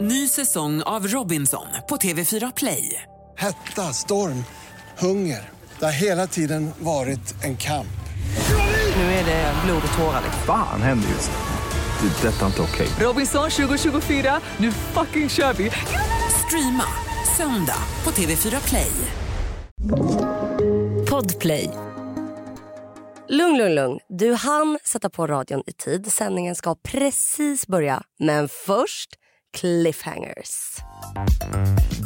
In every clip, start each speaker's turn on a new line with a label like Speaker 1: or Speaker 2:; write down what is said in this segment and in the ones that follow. Speaker 1: Ny säsong av Robinson på TV4 Play.
Speaker 2: Hetta, storm, hunger. Det har hela tiden varit en kamp.
Speaker 1: Nu är det blod och tårar. liksom.
Speaker 3: Fan händer just nu. Det. är Detta är inte okej.
Speaker 1: Robinson 2024, nu fucking kör vi! Streama söndag på TV4 Play.
Speaker 4: Podplay. Lugn, lugn, lugn. Du hann sätta på radion i tid. Sändningen ska precis börja. Men först cliffhangers.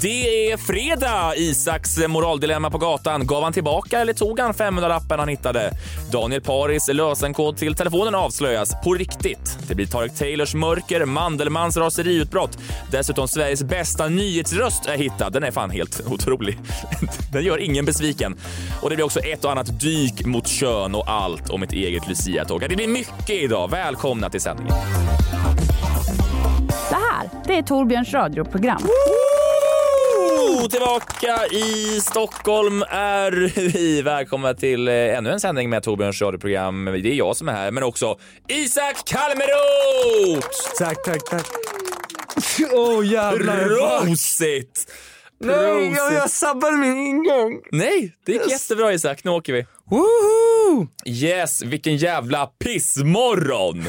Speaker 5: Det är fredag! Isaks moraldilemma på gatan. Gav han tillbaka eller tog han 500-lappen han hittade? Daniel Paris lösenkod till telefonen avslöjas på riktigt. Det blir Tarek Taylors mörker, Mandelmans raseriutbrott. Dessutom Sveriges bästa nyhetsröst är hittad. Den är fan helt otrolig. Den gör ingen besviken. Och det blir också ett och annat dyk mot kön och allt om ett eget Lucia-tåg. Det blir mycket idag. Välkomna till sändningen.
Speaker 6: Det här, det är Torbjörns radioprogram.
Speaker 5: Woo! Tillbaka i Stockholm är vi. Välkomna till eh, ännu en sändning med Torbjörns radioprogram. Det är jag som är här, men också Isak Kalmeroth!
Speaker 3: Tack, tack, tack. Åh oh, jävlar.
Speaker 5: Prosit!
Speaker 3: Nej, jag,
Speaker 5: Prosit.
Speaker 3: jag sabbade min ingång.
Speaker 5: Nej, det gick jättebra Isak. Nu åker vi.
Speaker 3: Woho!
Speaker 5: Yes, vilken jävla pissmorgon!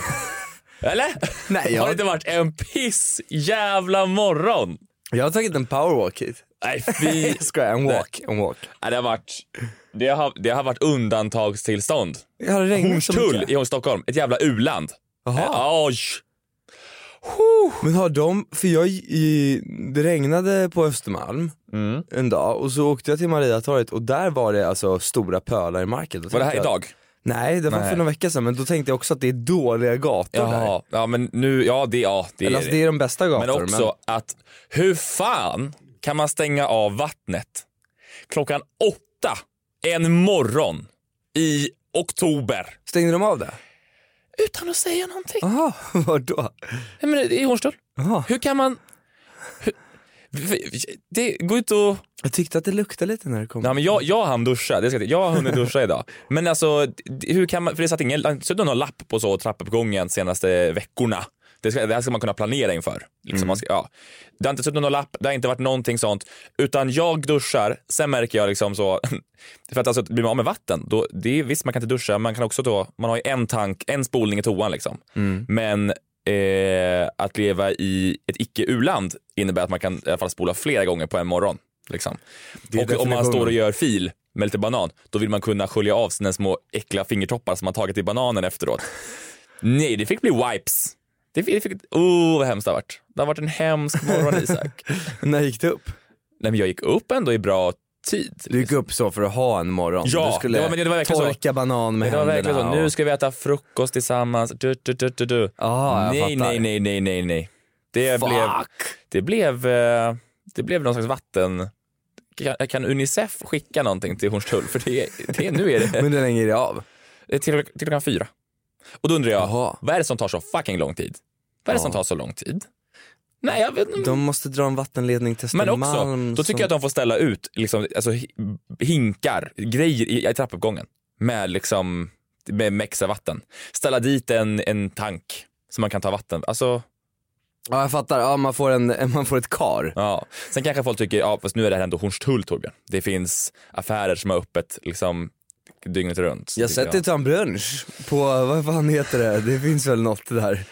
Speaker 5: Eller?
Speaker 3: Nej, jag-
Speaker 5: Har det inte varit en pissjävla morgon?
Speaker 3: Jag har tagit en powerwalk hit.
Speaker 5: Nej, fy
Speaker 3: Jag skojar, en walk. En walk.
Speaker 5: Nej, det har varit, det har, det har varit undantagstillstånd.
Speaker 3: Jag har regnat så
Speaker 5: Hornstull
Speaker 3: mycket.
Speaker 5: i Stockholm, ett jävla u-land.
Speaker 3: Jaha.
Speaker 5: Eh, oj.
Speaker 3: Men har de, för jag, i, det regnade på Östermalm
Speaker 5: Mm.
Speaker 3: en dag och så åkte jag till Mariatorget och där var det alltså stora pölar i marken. Då
Speaker 5: Var det
Speaker 3: tänkte
Speaker 5: här
Speaker 3: jag-
Speaker 5: idag?
Speaker 3: Nej, det var
Speaker 5: Nej.
Speaker 3: för några veckor sedan men då tänkte jag också att det är dåliga gator där.
Speaker 5: Jaha, ja men nu, ja det, ja, det är
Speaker 3: Eller
Speaker 5: det.
Speaker 3: alltså, det är de bästa
Speaker 5: men
Speaker 3: gatorna.
Speaker 5: också att hur fan kan man stänga av vattnet klockan åtta en morgon i oktober
Speaker 3: Stängde de av det?
Speaker 5: utan att säga någonting?
Speaker 3: Jaha, vadå?
Speaker 5: Nej, men det är Hornstull.
Speaker 3: Jaha.
Speaker 5: Hur kan man... Hur, det går inte att...
Speaker 3: Jag tyckte att det luktade lite när det kom.
Speaker 5: Nej, men jag, jag hann duscha, det ska jag, säga. jag har hunnit duscha idag. Men alltså, d- hur kan man, för det satt ingen, det satt någon lapp på så trappuppgången senaste veckorna. Det, ska, det här ska man kunna planera inför. Liksom man ska, ja. Det har inte suttit någon lapp, det har inte varit någonting sånt. Utan jag duschar, sen märker jag liksom så, för att alltså blir man av med vatten, då, det är, visst man kan inte duscha, man kan också då, man har ju en tank, en spolning i toan liksom. Men eh, att leva i ett icke u-land innebär att man kan i alla fall spola flera gånger på en morgon. Liksom.
Speaker 3: är
Speaker 5: Och om man
Speaker 3: definitionen.
Speaker 5: står och gör fil med lite banan, då vill man kunna skölja av sina små äckliga fingertoppar som man tagit i bananen efteråt. Nej, det fick bli wipes. Det fick, det fick, oh, vad hemskt det har varit. Det har varit en hemsk morgon, Isak.
Speaker 3: När gick det upp?
Speaker 5: Nej, men jag gick upp ändå i bra tid.
Speaker 3: Du gick upp så för att ha en morgon.
Speaker 5: Ja,
Speaker 3: du skulle
Speaker 5: det var- men det var verkligen så.
Speaker 3: torka banan med
Speaker 5: Det var verkligen så,
Speaker 3: händerna.
Speaker 5: nu
Speaker 3: och-
Speaker 5: ska vi äta frukost tillsammans. Du, du, du, du, du.
Speaker 3: Ja, jag
Speaker 5: nej,
Speaker 3: fattar.
Speaker 5: nej, nej, nej, nej, nej. Det
Speaker 3: Fuck.
Speaker 5: blev, det blev, eh, det blev någon slags vatten... Kan, kan Unicef skicka någonting till Hornstull? För det, det, nu är det
Speaker 3: Men hur länge är det av?
Speaker 5: Eh, till, till klockan fyra. Och då undrar jag,
Speaker 3: Jaha.
Speaker 5: vad är det som tar så fucking lång tid? Vad är det som
Speaker 3: Ja.
Speaker 5: tar så lång tid? Nej, jag vet inte.
Speaker 3: De måste dra en vattenledning till
Speaker 5: Men
Speaker 3: Östermalm.
Speaker 5: också, då tycker jag att de får ställa ut liksom, alltså, hi- hinkar, grejer i, i trappuppgången med, liksom, med, med extra vatten. Ställa dit en, en tank som man kan ta vatten. Alltså,
Speaker 3: Ja, jag fattar. Ja, man får, en, man får ett kar.
Speaker 5: ja. Sen kanske folk tycker, ja, fast nu är det här ändå Hornstull Torbjörn. Det finns affärer som har öppet liksom, dygnet runt.
Speaker 3: Jag
Speaker 5: tycker
Speaker 3: sätter ta en brunch på, vad fan heter det? Det finns väl något där.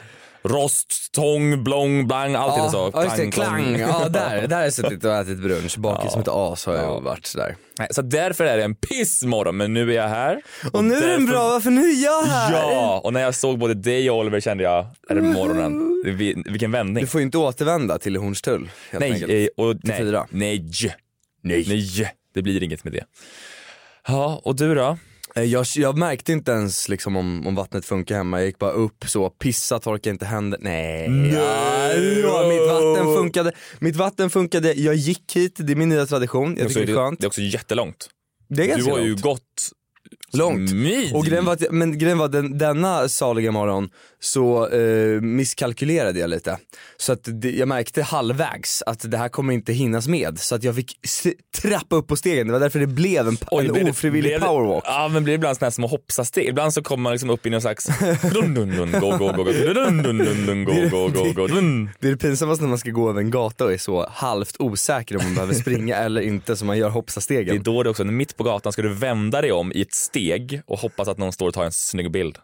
Speaker 5: Rost, tång, blång, blang, allt är det så.
Speaker 3: ja just det, klang.
Speaker 5: klong.
Speaker 3: Ja, där, där har jag suttit och ätit brunch. Bakis
Speaker 5: Ja.
Speaker 3: som ett as har jag
Speaker 5: Ja.
Speaker 3: varit sådär.
Speaker 5: Nej, Så därför är det en pissmorgon, men nu är jag här.
Speaker 3: Och nu är den
Speaker 5: därför-
Speaker 3: bra, varför nu är jag här?
Speaker 5: Ja, och när jag såg både dig och Oliver kände jag, är det morgonen? Vi- Vilken vändning.
Speaker 3: Du får ju inte återvända till Hornstull helt
Speaker 5: Nej,
Speaker 3: enkelt.
Speaker 5: eh, och nej,
Speaker 3: fyra.
Speaker 5: nej, nej, det blir inget med det. Ja, och du då?
Speaker 3: Eh, Jag, jag märkte inte ens liksom om, om vattnet funkar hemma, jag gick bara upp så, pissa torkar inte händer. Nej, Ja, jo, mitt vatten funkade. Mitt vatten funkade, jag gick hit, det är min nya tradition, jag
Speaker 5: Också
Speaker 3: tycker
Speaker 5: är
Speaker 3: det
Speaker 5: det,
Speaker 3: är skönt.
Speaker 5: det är också jättelångt.
Speaker 3: Det är
Speaker 5: Du
Speaker 3: ganska
Speaker 5: har ju
Speaker 3: långt.
Speaker 5: gått
Speaker 3: Långt.
Speaker 5: mil.
Speaker 3: Och grejen var att, men grejen var att den, denna saliga morgon så eh, misskalkylerade jag lite. Så att det, jag märkte halvvägs att det här kommer inte hinnas med. Så att jag fick se, trappa upp på stegen, det var därför det blev en, pa- en ofrivillig
Speaker 5: blev det-
Speaker 3: powerwalk.
Speaker 5: Ja, men blir det ibland sådana här små hoppsasteg? Ibland så kommer man liksom upp i någon slags... Dun, dun, dun, go, go, go, go, dun, dun, dun, dun, go, go, go, go, dun.
Speaker 3: Det är det pinsammaste när man ska gå över en gata och är så halvt osäker om man behöver springa eller inte så man gör
Speaker 5: Det är
Speaker 3: hoppsastegen.
Speaker 5: då det också, mitt på gatan ska du vända dig om i ett steg och hoppas att någon står och tar en snygg bild.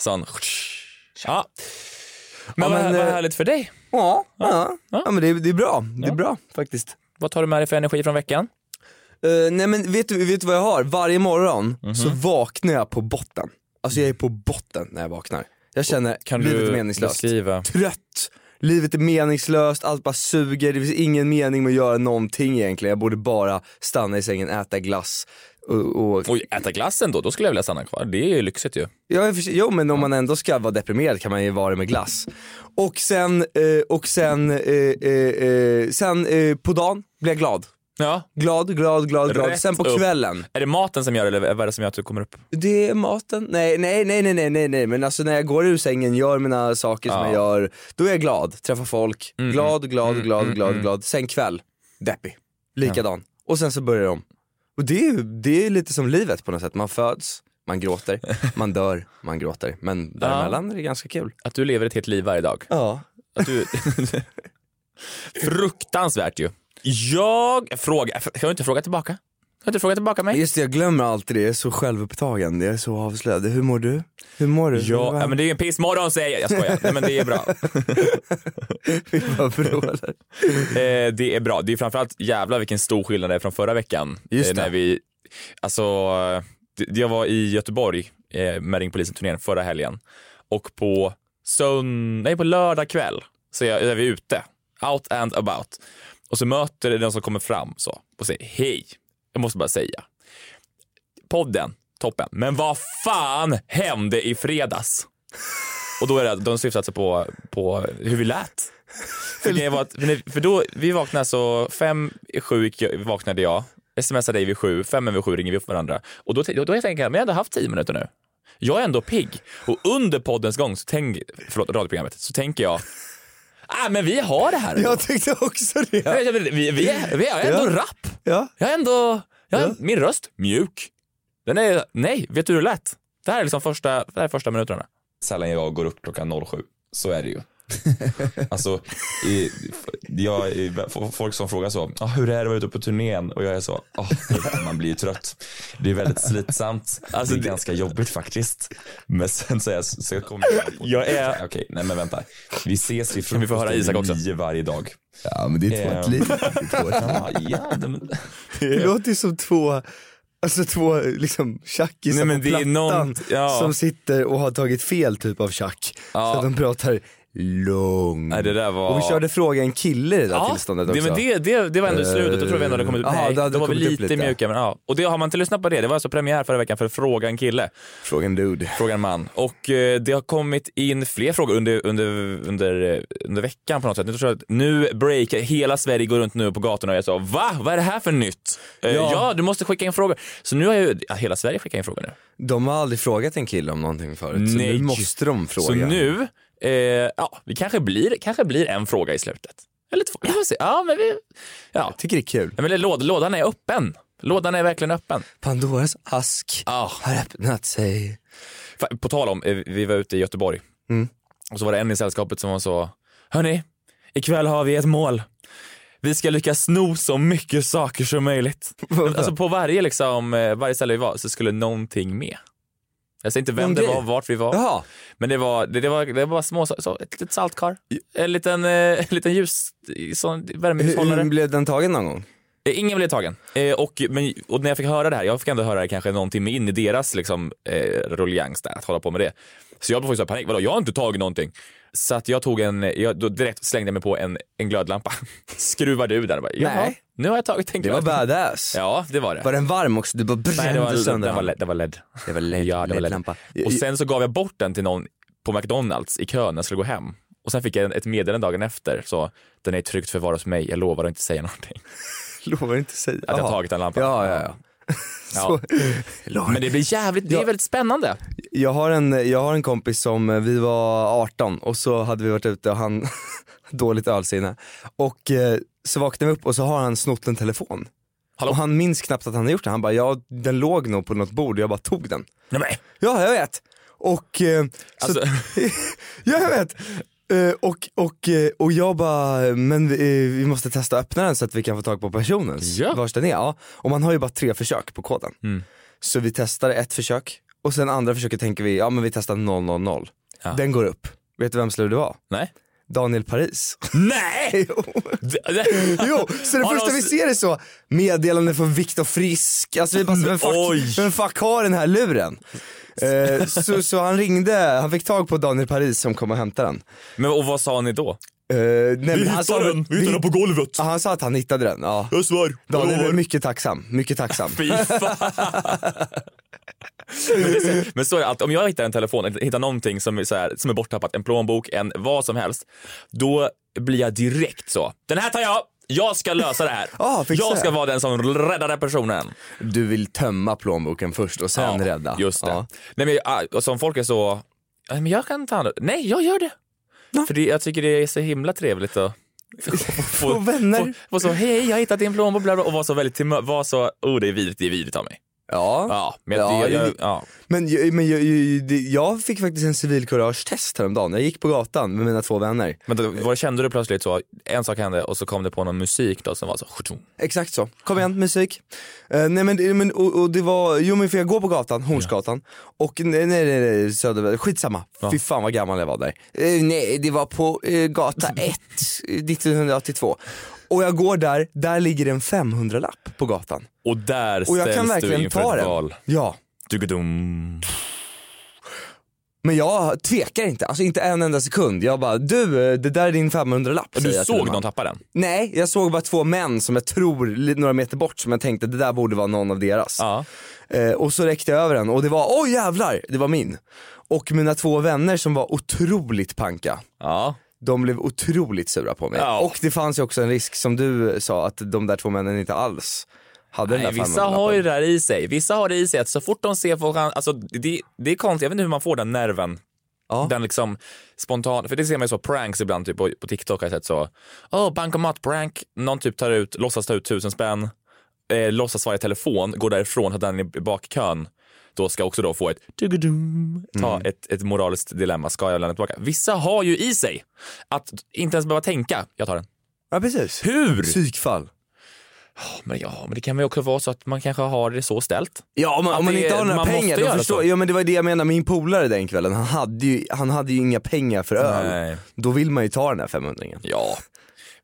Speaker 5: Sån. Ja. Men,
Speaker 3: Ah. Ja,
Speaker 5: vad,
Speaker 3: men,
Speaker 5: vad
Speaker 3: eh,
Speaker 5: härligt för dig.
Speaker 3: Ja, ja. ja men det är, det är bra. Det är bra faktiskt.
Speaker 5: Vad tar du med dig för energi från veckan?
Speaker 3: Eh, nej men vet du, vet du vad jag har? Varje morgon så
Speaker 5: Mhm.
Speaker 3: vaknar jag på botten. Alltså jag är på botten när jag vaknar. Jag känner
Speaker 5: Kan
Speaker 3: livet
Speaker 5: du
Speaker 3: är meningslöst.
Speaker 5: beskriva?
Speaker 3: Trött, livet är meningslöst, allt bara suger, det finns ingen mening med att göra någonting egentligen. Jag borde bara stanna i sängen, äta glass och, och
Speaker 5: Oj, äta glass ändå, då skulle jag vilja stanna kvar. Det är ju lyxigt ju.
Speaker 3: Ja, i och för sig- jo men om man ändå ska vara deprimerad kan man ju vara det med glass. Och sen, eh, och sen, eh, eh, eh, sen eh, på dagen blir jag glad.
Speaker 5: Ja.
Speaker 3: Glad, glad, glad, glad.
Speaker 5: Rätt
Speaker 3: sen på
Speaker 5: upp.
Speaker 3: kvällen,
Speaker 5: Är det maten som gör det eller vad är det som gör att du kommer upp?
Speaker 3: det är maten. Nej, nej, nej, nej, nej, nej, nej. men alltså när jag går ur sängen, gör mina saker som
Speaker 5: Ja.
Speaker 3: jag gör, då är jag glad, träffar folk. Glad, glad, glad, glad, glad. Sen kväll, deppig. Likadan. Och sen så börjar det om. Och det är, ju- det är lite som livet på något sätt, man föds, man gråter, man dör, man gråter. Men däremellan är det ganska kul.
Speaker 5: Att du lever ett helt liv varje dag.
Speaker 3: Ja.
Speaker 5: Att du... Fruktansvärt ju. Jag frågar, kan du inte fråga tillbaka? Kan du inte fråga tillbaka mig?
Speaker 3: Just det, jag glömmer alltid det. Jag är så självupptagen. Jag är så avslöjad. Hur mår du? Hur mår du?
Speaker 5: Ja, ja, men det är en pissmorgon säger jag. Jag skojar. Nej, men det är bra.
Speaker 3: Vad vrålar.
Speaker 5: Eh, det är bra. Det är framförallt jävla vilken stor skillnad det är från förra veckan.
Speaker 3: Just
Speaker 5: Eh,
Speaker 3: det.
Speaker 5: När vi, alltså, eh, det- jag var i Göteborg eh, med Ringpolisen-turnén förra helgen och på sönd- nej på lördag kväll så är, jag, är vi ute, out and about. Och så möter det någon som kommer fram så och säger hej. Jag måste bara säga. Podden, toppen. Men vad fan hände i fredags? Och då är det, de syftar alltså på, på hur vi lät. För, grejen var att, för då, vi vaknade så fem, i sju gick jag- vaknade jag, smsade dig vid sju, fem över sju ringer vi upp varandra. Och då, då, då tänker jag, men jag har ändå haft tio minuter nu. Jag är ändå pigg. Och under poddens gång, så tänk, förlåt, radioprogrammet, så tänker jag, ah men vi har det här.
Speaker 3: Jag tyckte också det.
Speaker 5: Vi, vi, vi, är, vi är ändå
Speaker 3: Ja.
Speaker 5: rapp.
Speaker 3: Ja.
Speaker 5: Jag är ändå, jag, min röst, mjuk. Den är, nej, vet du hur det lät? Det här är liksom första, det här är första minuterna. Sällan jag går upp klockan 07, så är det ju. alltså, i, jag, i, f- folk som frågar så, ah, hur är det att vara ute på turnén? Och jag är så, ah, man blir ju trött. Det är väldigt slitsamt. Alltså, det är ganska jobbigt faktiskt. Men sen så, är jag, så kommer jag på, jag är... okej, nej men vänta. Vi ses vid frukosten vi får höra Isak också. nio varje dag.
Speaker 7: Ja, men det är
Speaker 5: Eh.
Speaker 7: två ett liv. Det är två ett liv.
Speaker 5: Ja, ja, men...
Speaker 3: Det låter ju som två, alltså två liksom tjackisar
Speaker 5: Nej, men
Speaker 3: på
Speaker 5: det är
Speaker 3: plattan
Speaker 5: någon- ja.
Speaker 3: som sitter och har tagit fel typ av tjack. Så att de pratar långt.
Speaker 5: Nej, det där var...
Speaker 3: Och vi körde fråga en kille i det där tillståndet också.
Speaker 5: det, men det, det, det var ändå i slutet. Då tror jag vi ändå hade kommit upp.
Speaker 3: Eh, ja,
Speaker 5: Nej,
Speaker 3: det
Speaker 5: då
Speaker 3: hade
Speaker 5: var vi
Speaker 3: kommit upp
Speaker 5: lite,
Speaker 3: lite.
Speaker 5: mjuka. Men, ja. Och det, har man inte lyssnat på det, det var alltså premiär förra veckan för Fråga en kille,
Speaker 3: Fråga en dude.
Speaker 5: Fråga en man. Och eh, det har kommit in fler frågor under, under, under, eh, under veckan på något sätt. Nu tror jag att nu breakar, hela Sverige går runt nu på gatorna och jag sa va? Vad är det här för nytt? Eh, ja. du måste skicka in frågor. Så nu har ju ja, hela Sverige skickat in frågor nu.
Speaker 3: De har aldrig frågat en kille om någonting förut, så
Speaker 5: Nej.
Speaker 3: nu måste de fråga.
Speaker 5: Så nu, eh, ja, vi kanske blir, kanske blir en fråga i slutet. Eller två. Vi får se. Ja, men vi, ja.
Speaker 3: Jag tycker det är kul.
Speaker 5: Nej, men det, låd, lådan är öppen. Lådan är verkligen öppen.
Speaker 3: Pandoras ask
Speaker 5: Ah.
Speaker 3: har öppnat sig.
Speaker 5: Fa- På tal om, eh, vi var ute i Göteborg
Speaker 3: Mm.
Speaker 5: och så var det en i sällskapet som var så, hörni, ikväll har vi ett mål. Vi ska lyckas sno så mycket saker som möjligt. alltså på varje, liksom, eh, varje ställe vi var så skulle någonting med. Jag säger inte vem
Speaker 3: Någon
Speaker 5: det
Speaker 3: grej.
Speaker 5: var, vart vi var,
Speaker 3: Jaha,
Speaker 5: men det var, det, det var, det var små saker. Så, Ett litet saltkar, en liten, eh, en liten ljus, sån
Speaker 3: hur,
Speaker 5: värmehushållare.
Speaker 3: hur blev den tagen någon gång?
Speaker 5: Eh, Ingen blev tagen. Eh, och, men, och när jag fick höra det här, jag fick ändå höra det kanske någon timme in i deras liksom, eh, ruljangs där, att hålla på med det. Så jag blev så här panik, vadå jag har inte tagit någonting. Så att jag tog en, jag, då direkt slängde jag mig på en, en glödlampa, skruvade ur den och bara, Jaha,
Speaker 3: Nej.
Speaker 5: nu har jag tagit en
Speaker 3: Det var
Speaker 5: glödlamp.
Speaker 3: badass.
Speaker 5: Ja, det var det.
Speaker 3: Var den varm också? Du bara
Speaker 5: Nej, det var,
Speaker 3: brände sönder
Speaker 5: det var,
Speaker 3: den.
Speaker 5: LED, det var LED.
Speaker 3: Det var LED,
Speaker 5: ja, det var LED.
Speaker 3: LED-lampa.
Speaker 5: Och sen så gav jag bort den till någon på McDonalds i kön när jag skulle gå hem. Och sen fick jag en- ett meddelande dagen efter, så den är tryggt förvarad hos mig, jag lovar att inte säga någonting.
Speaker 3: Lovar inte säga.
Speaker 5: Att jag
Speaker 3: Jaha.
Speaker 5: tagit den lampan.
Speaker 3: Ja, ja, ja.
Speaker 5: Ja. Men det blir jävligt, det är väldigt spännande.
Speaker 3: Jag har, en, jag har en kompis som, eh, vi var 18 och så hade vi varit ute och han, dåligt ölsinne. Och eh, så vaknade vi upp och så har han snott en telefon.
Speaker 5: Hallå?
Speaker 3: Och han minns knappt att han har gjort det. Han bara, ja den låg nog på något bord och jag bara tog den.
Speaker 5: Nej, men.
Speaker 3: Ja, jag vet. Och, eh,
Speaker 5: Alltså,
Speaker 3: så, ja, jag vet. Eh, och, och, eh, och jag bara, men vi, eh, vi måste testa att öppna den så att vi kan få tag på personen,
Speaker 5: Ja. Mm.
Speaker 3: vars den är. Ja. Och man har ju bara tre försök på koden. Så vi testade ett försök och sen andra försöket tänker vi, ja men vi testar 000.
Speaker 5: Ja.
Speaker 3: Den går upp. Vet du vems lur det var?
Speaker 5: nej.
Speaker 3: Daniel Paris.
Speaker 5: Nej!
Speaker 3: jo,
Speaker 5: Det-
Speaker 3: Jo, så det
Speaker 5: Har
Speaker 3: första
Speaker 5: de-
Speaker 3: vi ser är så, meddelande från Viktor Frisk, alltså vi bara, vem
Speaker 5: Oj.
Speaker 3: fuck, vem fuck har den här luren? Eh, så, så han ringde, han fick tag på Daniel Paris som kom och hämtade den.
Speaker 5: Men och vad sa ni då?
Speaker 3: Eh, nej, men han sa-
Speaker 5: på golvet.
Speaker 3: Ja, Han sa att han hittade den, ja.
Speaker 5: Jag svär.
Speaker 3: Daniel är mycket tacksam, mycket tacksam.
Speaker 5: Fy fan. Men det är så- Men så är det alltid. Om jag hittar en telefon, hittar någonting som är, så här, som är borttappat, en plånbok, en vad som helst, då blir jag direkt så. Den här tar jag! Jag ska lösa det här.
Speaker 3: Ja, Ah, fixa
Speaker 5: jag ska
Speaker 3: det.
Speaker 5: vara den som räddar den personen.
Speaker 3: Du vill tömma plånboken först och sen
Speaker 5: Ja,
Speaker 3: rädda.
Speaker 5: Just det.
Speaker 3: Ja.
Speaker 5: Nej, men, ah, och som folk är så, "Ja, men jag kan ta hand om Nej, jag gör det. För det, jag tycker det är så himla trevligt att få
Speaker 3: vänner.
Speaker 5: Få, få så, hej, jag har hittat din plånbok, bla, bla, och vara så väldigt timö- var så, oh det är vidrigt, det är vidrigt av mig.
Speaker 3: Ja.
Speaker 5: Ja, men
Speaker 3: Ja,
Speaker 5: det, jag,
Speaker 3: det-
Speaker 5: ja.
Speaker 3: Men, jag- men jag, jag, det- jag fick faktiskt en civilkuragetest häromdagen. Jag gick på gatan med mina två vänner.
Speaker 5: Men då, vad kände du plötsligt så, en sak hände och så kom det på någon musik då som var så, "Shutung."
Speaker 3: Exakt så. Kom igen, musik. Eh, nej men, det- men och, och det var, jo men för jag går på gatan, Hornsgatan, och nej nej nej, nej Södervägen, skitsamma. Fy fan vad gammal jag var där. Eh, nej, det var på eh, gata 1, 1982. Och jag går där, där ligger en 500-lapp på gatan.
Speaker 5: och där
Speaker 3: Och jag kan
Speaker 5: ställs du
Speaker 3: verkligen
Speaker 5: inför
Speaker 3: ta
Speaker 5: ett
Speaker 3: den.
Speaker 5: val.
Speaker 3: Ja.
Speaker 5: Dugudum.
Speaker 3: Men jag tvekar inte, alltså inte en enda sekund. Jag bara, du eh, det där är din 500-lapp.
Speaker 5: Och
Speaker 3: säger
Speaker 5: Du
Speaker 3: jag till
Speaker 5: såg
Speaker 3: man.
Speaker 5: någon tappa den?
Speaker 3: Nej, jag såg bara två män som jag tror, li- några meter bort, som jag tänkte det där borde vara någon av deras.
Speaker 5: Ja.
Speaker 3: Eh, och så räckte jag över den och det var, oj jävlar, det var min. Och mina två vänner som var otroligt panka,
Speaker 5: Ja.
Speaker 3: de blev otroligt sura på mig.
Speaker 5: Ja.
Speaker 3: Och det fanns ju också en risk som du eh, sa att de där två männen inte alls hade
Speaker 5: Nej,
Speaker 3: den där
Speaker 5: vissa
Speaker 3: 500-lappen.
Speaker 5: har ju det där i sig. Vissa har det i sig att så fort de ser folk, an- alltså det, det är konstigt, jag vet inte hur man får den nerven.
Speaker 3: Ja.
Speaker 5: Den liksom spontan, för det ser man ju så pranks ibland typ på, på TikTok har jag sett så. Åh, bankomat-prank, någon typ tar ut, låtsas ta ut tusen spänn, eh, låtsas svara i telefon, går därifrån, har den i bakkön. Då ska också då få ett tuggadum, ta
Speaker 3: Mm.
Speaker 5: ett, ett moraliskt dilemma, ska jag lämna tillbaka? Vissa har ju i sig att inte ens behöva tänka, jag tar den.
Speaker 3: Ja precis.
Speaker 5: Hur?
Speaker 3: Psykfall.
Speaker 5: Men ja, men det kan ju också vara så att man kanske har det så ställt.
Speaker 3: Ja om man,
Speaker 5: Att
Speaker 3: om man
Speaker 5: det-
Speaker 3: inte har några
Speaker 5: man måste
Speaker 3: pengar, då
Speaker 5: göra
Speaker 3: förstår
Speaker 5: så.
Speaker 3: Ja men det var det jag menade, min polare den kvällen, han hade ju, han hade ju inga pengar för öl.
Speaker 5: Nej.
Speaker 3: Då vill man ju ta den här 500-ringen.
Speaker 5: Ja.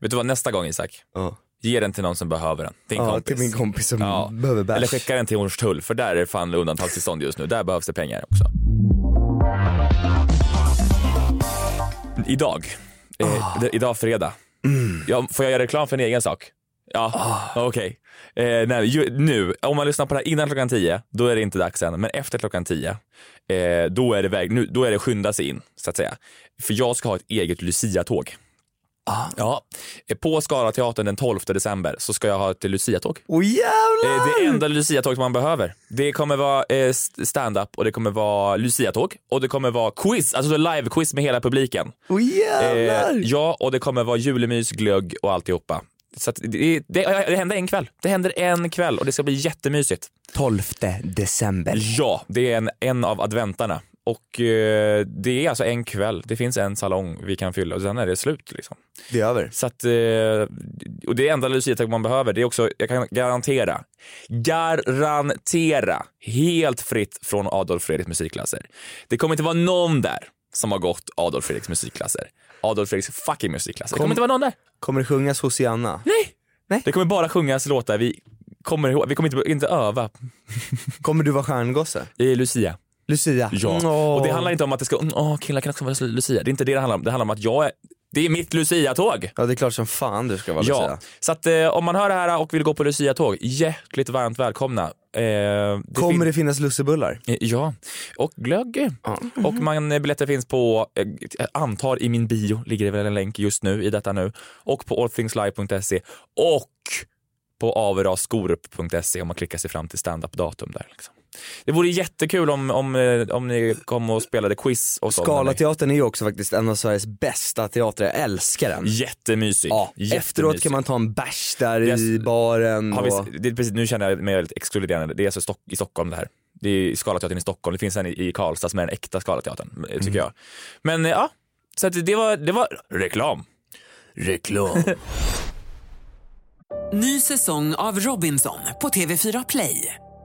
Speaker 5: Vet du vad, nästa gång Isak,
Speaker 3: Ja.
Speaker 5: ge den till någon som behöver den. Din
Speaker 3: Ja,
Speaker 5: kompis.
Speaker 3: till min kompis som
Speaker 5: Ja.
Speaker 3: behöver bärs.
Speaker 5: Eller skicka den till Hornstull, för där är fan undantagstillstånd just nu. Där behövs det pengar också. Idag,
Speaker 3: Ah.
Speaker 5: eh, d- idag fredag,
Speaker 3: Mm.
Speaker 5: ja, får jag göra reklam för en egen sak? Ja,
Speaker 3: Ah.
Speaker 5: okej. Eh, nej, ju- nu, om man lyssnar på det här innan klockan 10, då är det inte dags än. Men efter klockan 10, eh, då, är det väg, nu, då är det skynda sig in, så att säga. För jag ska ha ett eget Lucia-tåg.
Speaker 3: Ah.
Speaker 5: Ja, eh, på Skara teatern den 12 december så ska jag ha ett Lucia-tåg.
Speaker 3: Åh jävlar!
Speaker 5: Eh, Det enda Lucia-tåg som man behöver. Det kommer vara eh, st- stand-up och det kommer vara Lucia-tåg och det kommer vara quiz, alltså live-quiz med hela publiken.
Speaker 3: Åh jävlar!
Speaker 5: Eh, ja, och det kommer vara julemys, glögg och alltihopa. Så att det, det, det händer en kväll. Det händer en kväll och det ska bli jättemysigt.
Speaker 3: 12 december.
Speaker 5: Ja, det är en, en av adventarna. Och eh, det är alltså en kväll. Det finns en salong vi kan fylla och sen är det slut. Liksom.
Speaker 3: Det är över.
Speaker 5: Så att, eh, och det enda luciatag man behöver, det är också, jag kan garantera, garantera, helt fritt från Adolf Fredriks musikklasser. Det kommer inte vara någon där som har gått Adolf Fredriks musikklasser. Adolf Fredriks fucking musikklasser. Det kommer inte vara någon där.
Speaker 3: Kommer det sjungas Hosianna?
Speaker 5: Nej.
Speaker 3: Nej.
Speaker 5: Det kommer bara sjungas låtar. Vi kommer, ihåg- vi kommer inte, inte öva
Speaker 3: Kommer du vara stjärngosse?
Speaker 5: i Lucia.
Speaker 3: Lucia?
Speaker 5: Ja.
Speaker 3: Åh.
Speaker 5: Och det handlar inte om att det ska, mm, åh, killar kan också vara Lucia. Det är inte det det handlar om. Det handlar om att jag är, det är mitt Lucia-tåg.
Speaker 3: Ja det är klart som fan du ska vara
Speaker 5: Ja,
Speaker 3: Lucia.
Speaker 5: så att eh, om man hör det här och vill gå på Lucia-tåg, hjärtligt varmt välkomna. Eh, det
Speaker 3: Kommer
Speaker 5: fin-
Speaker 3: det finnas lussebullar?
Speaker 5: Eh, Ja, och glögg. Och man, eh, biljetter finns på, eh, antar i min bio, ligger det väl en länk just nu i detta nu, och på allthingslive.se och på avraskorup.se om man klickar sig fram till stand-up-datum där. Liksom. Det vore jättekul om, om, eh, om ni kom och spelade quiz och sånt. med mig.
Speaker 3: Skalateatern är ju också faktiskt en av Sveriges bästa teatrar, jag älskar den.
Speaker 5: Jättemysig.
Speaker 3: Ja,
Speaker 5: Jättemysig.
Speaker 3: efteråt kan man ta en bärs där i
Speaker 5: Yes.
Speaker 3: baren.
Speaker 5: Har vi,
Speaker 3: och...
Speaker 5: det, är precis, nu känner jag mig väldigt exkluderande. Det är alltså Stock, i Stockholm det här. Det är Scalateatern i Stockholm. Det finns en i, i Karlstad som är den äkta Scalateatern, eh, tycker jag. Men eh, ja, så att det, var, det var reklam.
Speaker 3: Reklam.
Speaker 1: Ny säsong av Robinson på TV4 Play.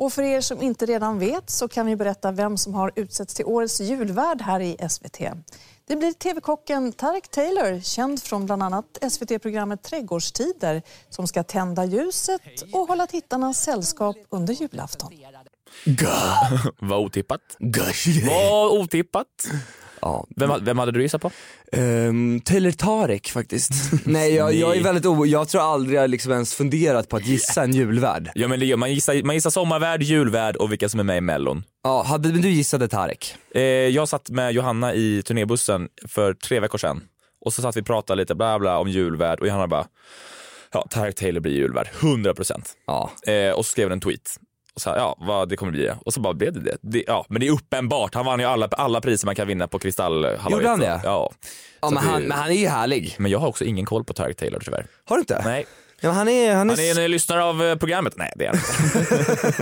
Speaker 8: Och för er som inte redan vet så kan vi berätta vem som har utsetts till årets julvärd här i SVT. Det blir tv-kocken Tarek Taylor, känd från bland annat SVT-programmet Trädgårdstider, som ska tända ljuset och hålla tittarna sällskap under julafton.
Speaker 5: Vad otippat.
Speaker 3: Gosh.
Speaker 5: Vad otippat.
Speaker 3: Ja.
Speaker 5: Vem, vem hade du gissat på?
Speaker 3: Ehm, Taylor Tarek faktiskt. Nej jag, jag är
Speaker 5: Nej.
Speaker 3: väldigt o... jag tror aldrig jag liksom ens funderat på att gissa en julvärd.
Speaker 5: Ja, men det, gör- man, gissar, man gissar sommarvärd, julvärd och vilka som är med i Mellon.
Speaker 3: Ja, hade men du gissade Tarek?
Speaker 5: Eh, jag satt med Johanna i turnébussen för tre veckor sedan och så satt vi och pratade lite bla bla om julvärd och Johanna bara Ja, Tarek Taylor blir julvärd, 100 procent.
Speaker 3: Ja.
Speaker 5: Eh, och så skrev hon en tweet. Och så här, ja, vad det kommer bli. Och så bara blev det det. det ja, men det är uppenbart. Han vann ju alla, alla priser man kan vinna på Kristallhalloj.
Speaker 3: Gjorde han det?
Speaker 5: Ja.
Speaker 3: Ja
Speaker 5: Så
Speaker 3: men
Speaker 5: att
Speaker 3: han,
Speaker 5: det-
Speaker 3: men han är ju härlig.
Speaker 5: men jag har också ingen koll på Tarek Taylor tyvärr.
Speaker 3: Har du inte?
Speaker 5: Nej.
Speaker 3: Ja, men han är, han är,
Speaker 5: Han är en lyssnare av eh, programmet. Nej, det är han inte.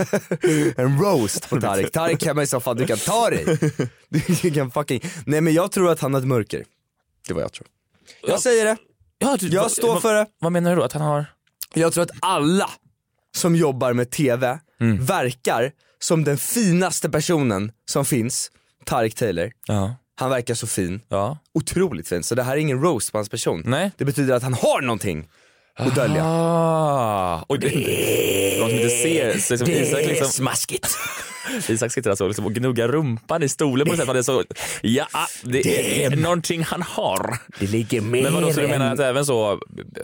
Speaker 3: en roast på Tarek. Tarek hemma i soffan, du kan ta dig. Du kan fucking, nej men jag tror att han har ett mörker. Det var jag tror. Jag säger det,
Speaker 5: Ja, du-
Speaker 3: jag
Speaker 5: vad-
Speaker 3: står
Speaker 5: vad-
Speaker 3: för det.
Speaker 5: Vad menar du då? Att han har...
Speaker 3: Jag tror att alla som jobbar med TV
Speaker 5: Mm.
Speaker 3: verkar som den finaste personen som finns, Tarek Taylor.
Speaker 5: Ja.
Speaker 3: Han verkar så fin,
Speaker 5: Ja.
Speaker 3: otroligt fin. Så det här är ingen roast på hans person.
Speaker 5: Nej.
Speaker 3: Det betyder att han har någonting att dölja.
Speaker 5: Ah, och det, för de som inte ser, så liksom Isak, liksom,
Speaker 3: smaskigt.
Speaker 5: Isak sitter alltså liksom och gnuggar rumpan i stolen på något sätt. Man är så, ja, ah, det, är någonting han har.
Speaker 3: Det ligger mer
Speaker 5: Men vadå, så du
Speaker 3: än-
Speaker 5: menar att även så,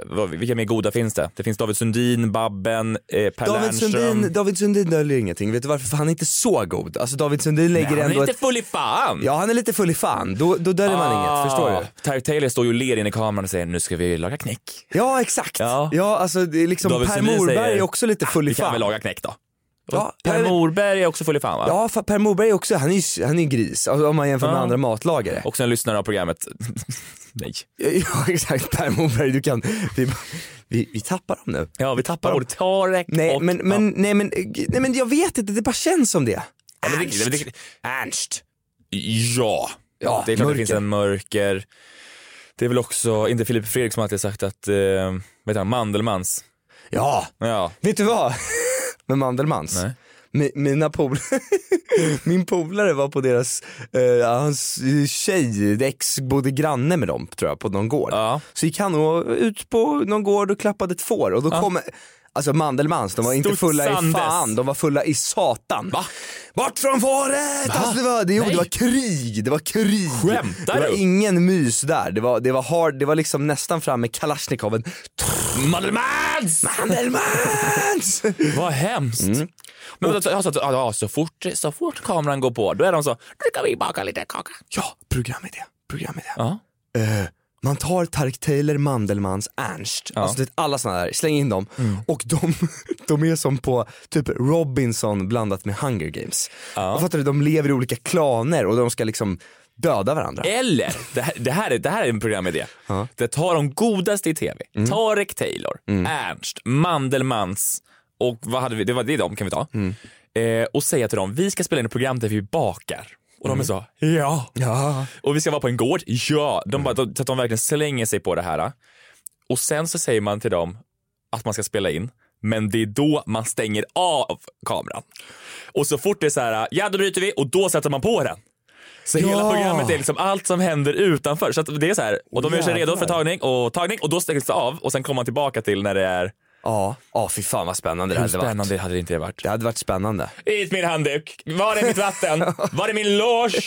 Speaker 5: vad- vilka mer goda finns det? Det finns David Sundin, Babben, eh, Per
Speaker 3: David
Speaker 5: Lernström.
Speaker 3: Sundin, David Sundin döljer ingenting, vet du varför? För han är inte så god. Alltså David Sundin lägger
Speaker 5: Nej, han är
Speaker 3: ändå
Speaker 5: lite
Speaker 3: ett...
Speaker 5: full i fan.
Speaker 3: Ja han är lite full i fan, då, då döljer man
Speaker 5: Ah.
Speaker 3: inget, förstår du?
Speaker 5: Tarek Taylor står ju och ler in i kameran och säger nu ska vi laga knäck.
Speaker 3: Ja exakt, ja,
Speaker 5: Ja.
Speaker 3: alltså det är liksom
Speaker 5: David
Speaker 3: Per
Speaker 5: Sundin
Speaker 3: Morberg
Speaker 5: säger,
Speaker 3: är också lite full i
Speaker 5: Vi kan
Speaker 3: fan.
Speaker 5: väl laga knäck då?
Speaker 3: Ja, jag
Speaker 5: per
Speaker 3: vet-
Speaker 5: Morberg är också full i fan va?
Speaker 3: Ja, för Per Morberg är också, han är ju han är ju gris, alltså, om man jämför med
Speaker 5: Ja.
Speaker 3: andra matlagare.
Speaker 5: Också en lyssnare av programmet. Nej.
Speaker 3: Ja exakt, Per Morberg du kan, vi, vi, vi tappar dem nu.
Speaker 5: Ja, vi tappar ordet Tarek
Speaker 3: Nej
Speaker 5: och...
Speaker 3: men,
Speaker 5: Ja.
Speaker 3: men, nej, men, eh, nej men jag vet inte, det bara känns som det.
Speaker 5: Ja, men det- det- det-
Speaker 3: Ernst.
Speaker 5: Ja.
Speaker 3: Ja,
Speaker 5: det är klart
Speaker 3: mörker.
Speaker 5: det finns en mörker. Det är väl också, inte Filip Fredrik som alltid sagt att, eh, vad heter han, Mandelmans.
Speaker 3: Ja,
Speaker 5: Ja,
Speaker 3: vet du vad? med Mandelmans.
Speaker 5: Nej.
Speaker 3: Mi- Mina pol Min polare var på deras, eh, hans tjej, ex bodde granne med dem tror jag på någon gård.
Speaker 5: Ja.
Speaker 3: Så gick han och, ut på någon gård och klappade ett får och då kom, alltså Mandelmans, de var inte fulla i
Speaker 5: Studsandes.
Speaker 3: fan, de var fulla i satan.
Speaker 5: Va?
Speaker 3: Bort från fåret! Alltså det, var, det, jo,
Speaker 5: Nej.
Speaker 3: det var krig, det var krig.
Speaker 5: Skämtar
Speaker 3: det var
Speaker 5: du?
Speaker 3: ingen mys där, det var, det var hard, det var liksom nästan fram med kalasjnikoven.
Speaker 5: Mandelmans!
Speaker 3: Mandelmans!
Speaker 5: Vad hemskt. Men vänta, så- alltså, ja, så, fort, så fort kameran går på, då är de så, nu kan vi baka lite kaka.
Speaker 3: ja, programidé, programidé.
Speaker 5: Ja.
Speaker 3: eh, man tar Tark Taylor, Mandelmans, Ernst, alltså det, alla såna där, släng in dem.
Speaker 5: Mm.
Speaker 3: Och de, de är som på typ Robinson blandat med Hunger Games. Och fattar du, de lever i olika klaner och de ska liksom döda varandra.
Speaker 5: Eller, det här, det här, är, det här är en programidé. Det tar de godaste i tv. Tarek Taylor, Ernst, Mandelmans och vad hade vi, det var det är de kan vi ta. Eh, och säga till dem, vi ska spela in ett program där vi bakar. Och de är så, ja. ja. Och vi ska vara på en gård, ja. De,
Speaker 3: Mm.
Speaker 5: bara, de, så att de verkligen slänger sig på det här. Och sen så säger man till dem att man ska spela in, men det är då man stänger av kameran. Och så fort det är så här, ja då bryter vi och då sätter man på den. Så
Speaker 9: Ja.
Speaker 5: hela programmet är liksom allt som händer utanför. Så att det är så här, och de gör sig redo för tagning och tagning och då stängs det av och sen kommer man tillbaka till när det är
Speaker 3: Ja, ja fy fan vad spännande det
Speaker 5: Hur
Speaker 3: hade varit.
Speaker 5: spännande hade det inte varit?
Speaker 3: Det hade varit spännande.
Speaker 5: Hit min handduk, var är mitt vatten, var är min loge?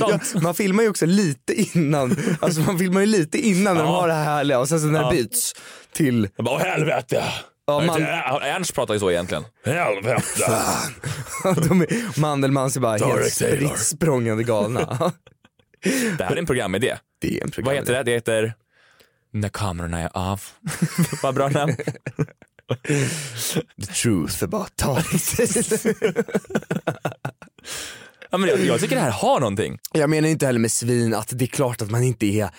Speaker 3: Ja, man filmar ju också lite innan, alltså man filmar ju lite innan när de har det här härliga och sen så när
Speaker 5: Ja.
Speaker 3: det byts till...
Speaker 5: Jag bara, åh helvete!
Speaker 3: Ja, man,
Speaker 5: Ja, Ernst pratar ju så egentligen. Helvete!
Speaker 3: de är, Mandelmann ser bara helt
Speaker 5: Derek Taylor.
Speaker 3: spritt språngande galna.
Speaker 5: Det här är en programidé.
Speaker 3: Det är en
Speaker 5: Vad heter det? Det heter När kamerorna är av. Vad bra namn.
Speaker 3: The truth about Tareq
Speaker 5: ja, men jag, jag tycker det här har någonting.
Speaker 3: Jag menar inte heller med svin att det är klart att man inte är,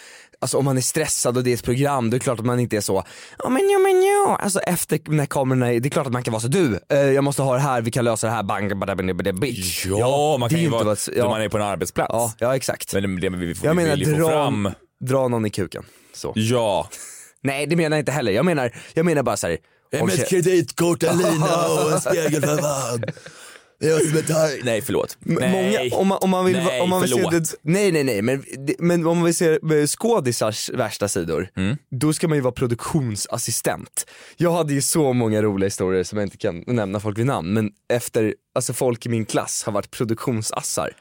Speaker 3: alltså om man är stressad och det är ett program, då är det klart att man inte är så, ja men ja men ja, alltså efter när kamerorna, är- det är klart att man kan vara så du, eh, jag måste ha det här, vi kan lösa det här, bang, bada, bada, bada, bitch.
Speaker 5: Ja, man
Speaker 3: det
Speaker 5: kan
Speaker 3: är
Speaker 5: ju
Speaker 3: inte
Speaker 5: vara,
Speaker 3: vad-
Speaker 5: då
Speaker 3: ja.
Speaker 5: man är på en arbetsplats.
Speaker 3: Ja, ja exakt.
Speaker 5: Men det, det vi, vi
Speaker 3: Jag menar
Speaker 5: vill ju få
Speaker 3: dra,
Speaker 5: fram.
Speaker 3: dra någon i kuken. Så.
Speaker 5: Ja.
Speaker 3: Nej det menar jag inte heller, jag menar, jag menar bara såhär,
Speaker 5: med ett
Speaker 3: kreditkort,
Speaker 5: en lina och en spegel för fan.
Speaker 3: Jag som
Speaker 5: Nej, förlåt.
Speaker 3: M-
Speaker 5: Nej.
Speaker 3: Många, om, man, om man vill,
Speaker 5: nej,
Speaker 3: om man vill se
Speaker 5: förlåt.
Speaker 3: det, nej nej nej men, det- men om man vill se eh, skådisars värsta sidor,
Speaker 5: Mm.
Speaker 3: då ska man ju vara produktionsassistent. Jag hade ju så många roliga historier som jag inte kan nämna folk vid namn, men efter, alltså folk i min klass har varit produktionsassar.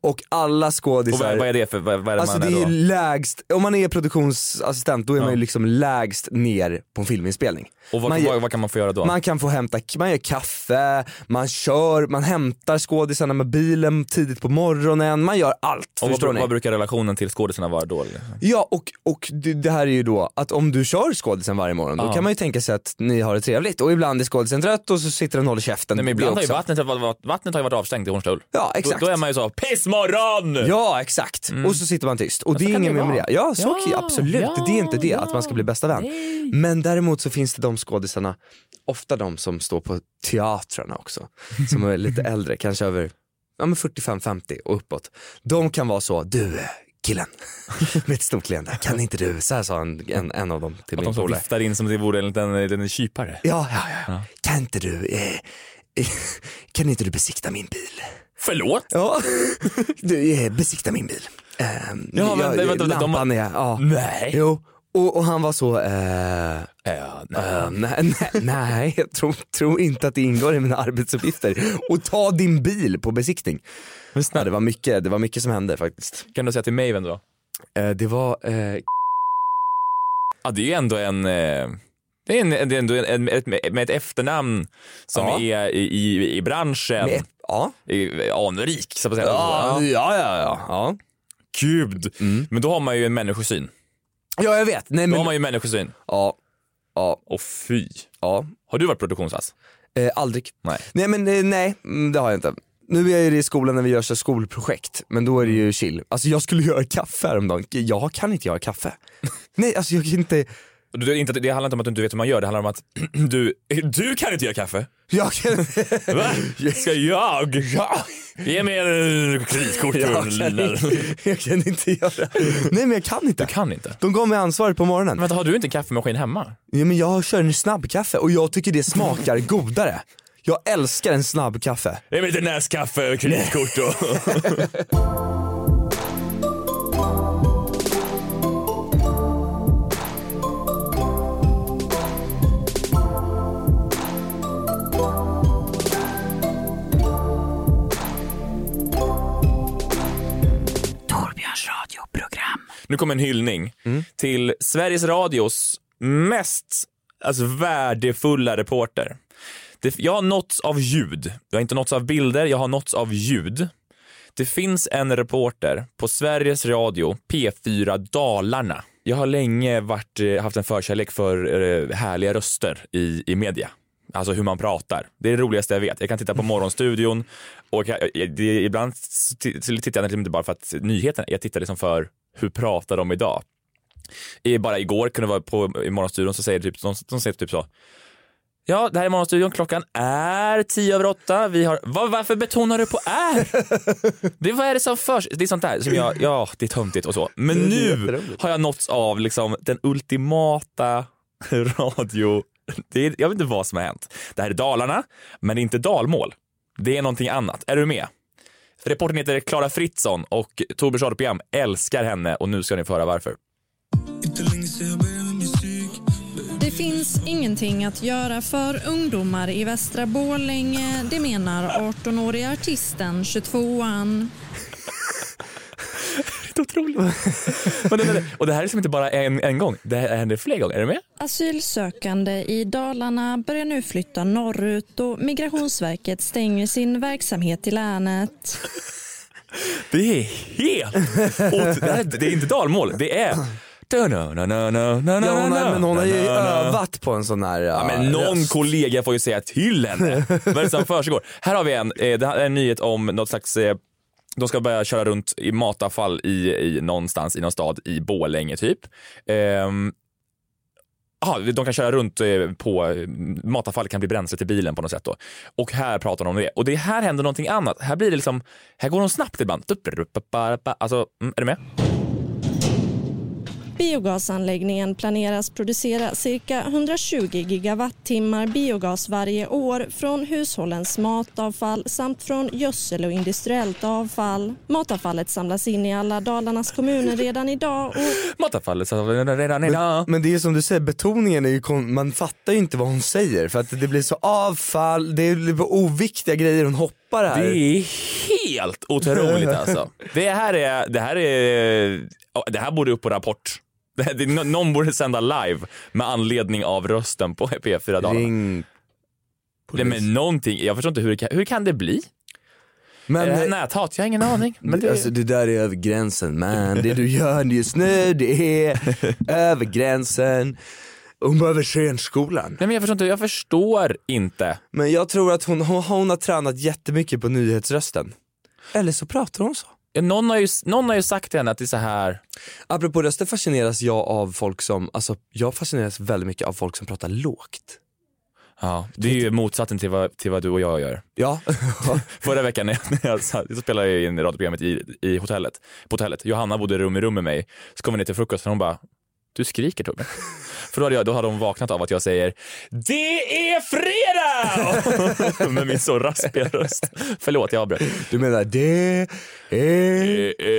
Speaker 3: Och alla
Speaker 5: Och
Speaker 3: skådisar
Speaker 5: vad, vad är det för, vad, vad är det
Speaker 3: Alltså
Speaker 5: man
Speaker 3: det är
Speaker 5: då?
Speaker 3: lägst, om man är produktionsassistent då är man
Speaker 5: Ja.
Speaker 3: ju liksom lägst ner på en filminspelning.
Speaker 5: Och vad,
Speaker 3: man,
Speaker 5: vad, vad kan man få göra då?
Speaker 3: man kan få hämta, man gör kaffe, man kör, man hämtar skådisarna med bilen tidigt på morgonen, man gör allt.
Speaker 5: och vad,
Speaker 3: förstår
Speaker 5: bru-
Speaker 3: ni?
Speaker 5: vad brukar relationen till skådisarna vara då? eller?
Speaker 3: Ja och, och det, det här är ju då att om du kör skådisen varje morgon
Speaker 5: Ja.
Speaker 3: då kan man ju tänka sig att ni har det trevligt och ibland är skådisen trött och så sitter den och håller käften.
Speaker 5: Nej, men ibland
Speaker 3: Det
Speaker 5: har ju
Speaker 3: också.
Speaker 5: vattnet, varit- vattnet har ju varit avstängt i Hornstull.
Speaker 3: Ja exakt.
Speaker 5: Då, då är man ju så, pissmorgon!
Speaker 3: Ja exakt, och så sitter man tyst och det är
Speaker 5: Mm. kan
Speaker 3: inget
Speaker 5: det
Speaker 3: mer med
Speaker 5: vara.
Speaker 3: det. Ja, så,
Speaker 5: Ja,
Speaker 3: absolut,
Speaker 5: ja,
Speaker 3: det är inte det att man ska bli bästa vän. Men däremot så finns det de skådisarna, ofta de som står på teatrarna också, som är lite äldre, kanske över ja, men 45-50 och uppåt. De kan vara så, du eh, killen med ett stort leende, kan inte du, så här sa en, en, en av dem till
Speaker 5: Att
Speaker 3: min
Speaker 5: de så
Speaker 3: polare.
Speaker 5: viftar in som om det vore en liten, en liten kypare.
Speaker 3: Ja, ja, ja, ja. Kan inte du, eh, eh, kan inte du besikta min bil?
Speaker 5: Förlåt?
Speaker 3: Ja. Du, eh, besikta min bil. Eh,
Speaker 5: Ja, men-
Speaker 3: jag-
Speaker 5: vänta, vänta, de-
Speaker 3: lampan är, ja.
Speaker 5: Nej.
Speaker 3: Jo. Och, och han var så, eh, eh, nej, nej, nej, jag tror, tror inte att det ingår i mina arbetsuppgifter. Och ta din bil på besiktning. Ja, det, var mycket, det var mycket som hände faktiskt.
Speaker 5: Kan du säga till mig vem det var?
Speaker 3: Eh, det var, eh,
Speaker 5: Ja, det är ju ändå en... eh, Det är, en, det är ändå en, en, ett, med ett efternamn som
Speaker 3: Ja.
Speaker 5: är i, i, i branschen.
Speaker 3: Med- ja.
Speaker 5: I, anrik, så att säga.
Speaker 3: Ja, ja, ja, ja.
Speaker 5: Gud. Men då har man ju en människosyn.
Speaker 3: ja jag vet. Nej,
Speaker 5: Då har
Speaker 3: men,
Speaker 5: man ju människosyn.
Speaker 3: ja, ja,
Speaker 5: Och fy.
Speaker 3: ja.
Speaker 5: Har du varit produktionsass?
Speaker 3: Eh, aldrig.
Speaker 5: Nej.
Speaker 3: Nej men eh, nej, mm, det har jag inte. Nu är jag ju det i skolan när vi gör så här skolprojekt, men då är det ju chill. Alltså jag skulle göra kaffe häromdagen, jag kan inte göra kaffe. Nej alltså jag kan inte,
Speaker 5: Du- Det, är inte, det handlar inte om att du inte vet hur man gör, det handlar om att du, du kan inte göra kaffe.
Speaker 3: jag kan,
Speaker 5: Va? Ska jag? Ja. Ge mig en kreditkort.
Speaker 3: jag
Speaker 5: och
Speaker 3: kan,
Speaker 5: lina.
Speaker 3: inte, jag kan inte göra. Nej men jag kan inte.
Speaker 5: Du kan inte.
Speaker 3: De gav mig ansvaret på morgonen.
Speaker 5: Vänta, har du inte en kaffemaskin hemma?
Speaker 3: Ja, men jag kör en snabbkaffe och jag tycker det smakar godare. Jag älskar en snabbkaffe.
Speaker 5: Ge mig lite näskaffe och kreditkort. Och...
Speaker 6: Torbjörns radioprogram.
Speaker 5: Nu kommer en hyllning till Sveriges Radios mest alltså, värdefulla reporter. Det, jag har nåtts av ljud. Jag har inte nåtts av bilder, jag har nåtts av ljud. Det finns en reporter på Sveriges Radio, P4 Dalarna. Jag har länge varit, eh, haft en förkärlek för eh, härliga röster i, i media. Alltså hur man pratar. Det är det roligaste jag vet. Jag kan titta på Morgonstudion och jag, jag, det, ibland s- t- tittar jag inte bara för att nyheterna, jag tittar liksom för hur pratar de idag? I, bara igår kunde det vara på i Morgonstudion så säger typ, de, de säger typ så Ja, det här är Morgonstudion. Klockan är tio över åtta. Vi har... Va, varför betonar du på är? Det, vad är det som förs? Det är sånt där som jag, ja, det är töntigt och så. Men
Speaker 3: Det är
Speaker 5: nu
Speaker 3: jätteroligt.
Speaker 5: har jag nåtts av liksom den ultimata radio... Det är, jag vet inte vad som har hänt. Det här är Dalarna, men det är inte dalmål. Det är någonting annat. Är du med? Reportern heter Klara Fritzson och Torbjörns radioprogram älskar henne och nu ska ni få höra varför.
Speaker 9: Det finns ingenting att göra för ungdomar i Västra Borlänge, det menar 18-åriga artisten 22an.
Speaker 5: Men, det- men, det- och det här är liksom inte bara en, en gång, det här händer fler gånger. Är du med?
Speaker 9: Asylsökande i Dalarna börjar nu flytta norrut och Migrationsverket stänger sin verksamhet i länet.
Speaker 5: Det är helt... ot- det, här, det är inte dalmål, det är...
Speaker 3: Ja, hon har- men hon har ju övat
Speaker 5: på en sån här ja, men Någon
Speaker 3: röst.
Speaker 5: kollega får ju säga till henne vad är det som försiggår. Här har vi en, eh, det här är en nyhet om något slags eh, de ska börja köra runt i matavfall i, i någonstans i någon stad i Borlänge typ. Ehm, Ja, de kan köra runt eh, på eh, matavfall kan bli bränsle till bilen på något sätt då. Och här pratar de om det. Och det här händer någonting annat. Här blir det liksom, här går de snabbt ibland. Alltså, mm, är du med?
Speaker 9: Biogasanläggningen planeras producera cirka 120 gigawattimmar biogas varje år från hushållens matavfall samt från gödsel och industriellt avfall. Matavfallet samlas in i alla Dalarnas kommuner redan idag och
Speaker 5: Matavfallet så redan idag.
Speaker 3: Men det är som du säger, betoningen är ju kon- man fattar ju inte vad hon säger för att det blir så avfall, det blir bara oviktiga grejer hon hoppar här.
Speaker 5: Det är helt otroligt alltså. Det här är, det här är, ja, det här borde upp på Rapport. Det här, det, nå- någon borde sända live med anledning av rösten på P4 Dalarna. Ring Nej, men någonting, jag förstår inte hur det kan, hur kan det bli?
Speaker 3: Men-
Speaker 5: Eh, Men, är det här näthat? Jag har ingen aning. Men det,
Speaker 3: Alltså det där är över gränsen man, det du gör just nu det är över gränsen. Hon behöver scenskolan.
Speaker 5: Nej men jag förstår inte, jag förstår inte.
Speaker 3: Men jag tror att hon, hon, hon har tränat jättemycket på nyhetsrösten. Eller så pratar hon så.
Speaker 5: Någon har, ju, någon har ju sagt till henne att det är så här.
Speaker 3: Apropå röster fascineras jag av folk som, alltså jag fascineras väldigt mycket av folk som pratar lågt.
Speaker 5: Ja, det är ju motsatsen till vad, till vad du och jag gör.
Speaker 3: Ja.
Speaker 5: Förra veckan när jag, när jag satt, så spelade jag in radioprogrammet i, i hotellet, på hotellet. Johanna bodde rum i rum med mig. Så kom vi ner till frukosten och hon bara, du skriker Tobbe. För då hade, jag, då hade hon vaknat av att jag säger, det är fredag! med min så raspiga röst. Förlåt, jag avbröt.
Speaker 3: Du menar det är...
Speaker 5: Det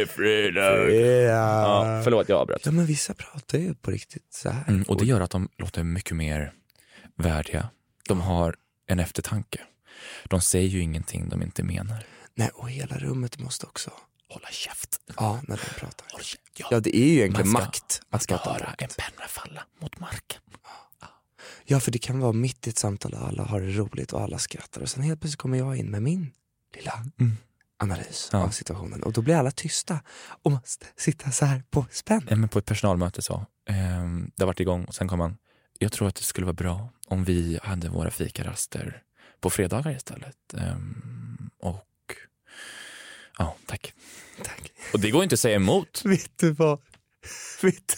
Speaker 5: är fredag. Ja, förlåt, jag avbröt.
Speaker 3: Ja men vissa pratar ju på riktigt så här.
Speaker 5: Mm, och det gör att de låter mycket mer värdiga. De har en eftertanke. De säger ju ingenting de inte menar.
Speaker 3: Nej och hela rummet måste också
Speaker 5: hålla käft.
Speaker 3: Ja när de pratar. Ja. det är ju egentligen
Speaker 5: Man ska-
Speaker 3: makt.
Speaker 5: man ska
Speaker 3: att prata
Speaker 5: höra
Speaker 3: lågt.
Speaker 5: en penna falla mot marken.
Speaker 3: Ja för det kan vara mitt i ett samtal och alla har det roligt och alla skrattar och sen helt plötsligt kommer jag in med min lilla
Speaker 5: Mm.
Speaker 3: analys av situationen och då blir alla tysta och måste sitta så här på spänn.
Speaker 5: Ja, men på ett personalmöte så, ehm, det har varit igång och sen kom han. Jag tror att det skulle vara bra om vi hade våra fikaraster på fredagar istället. Ehm, och ja, tack.
Speaker 3: Tack.
Speaker 5: Och det går inte att säga emot.
Speaker 3: Vet du vad? Vet du?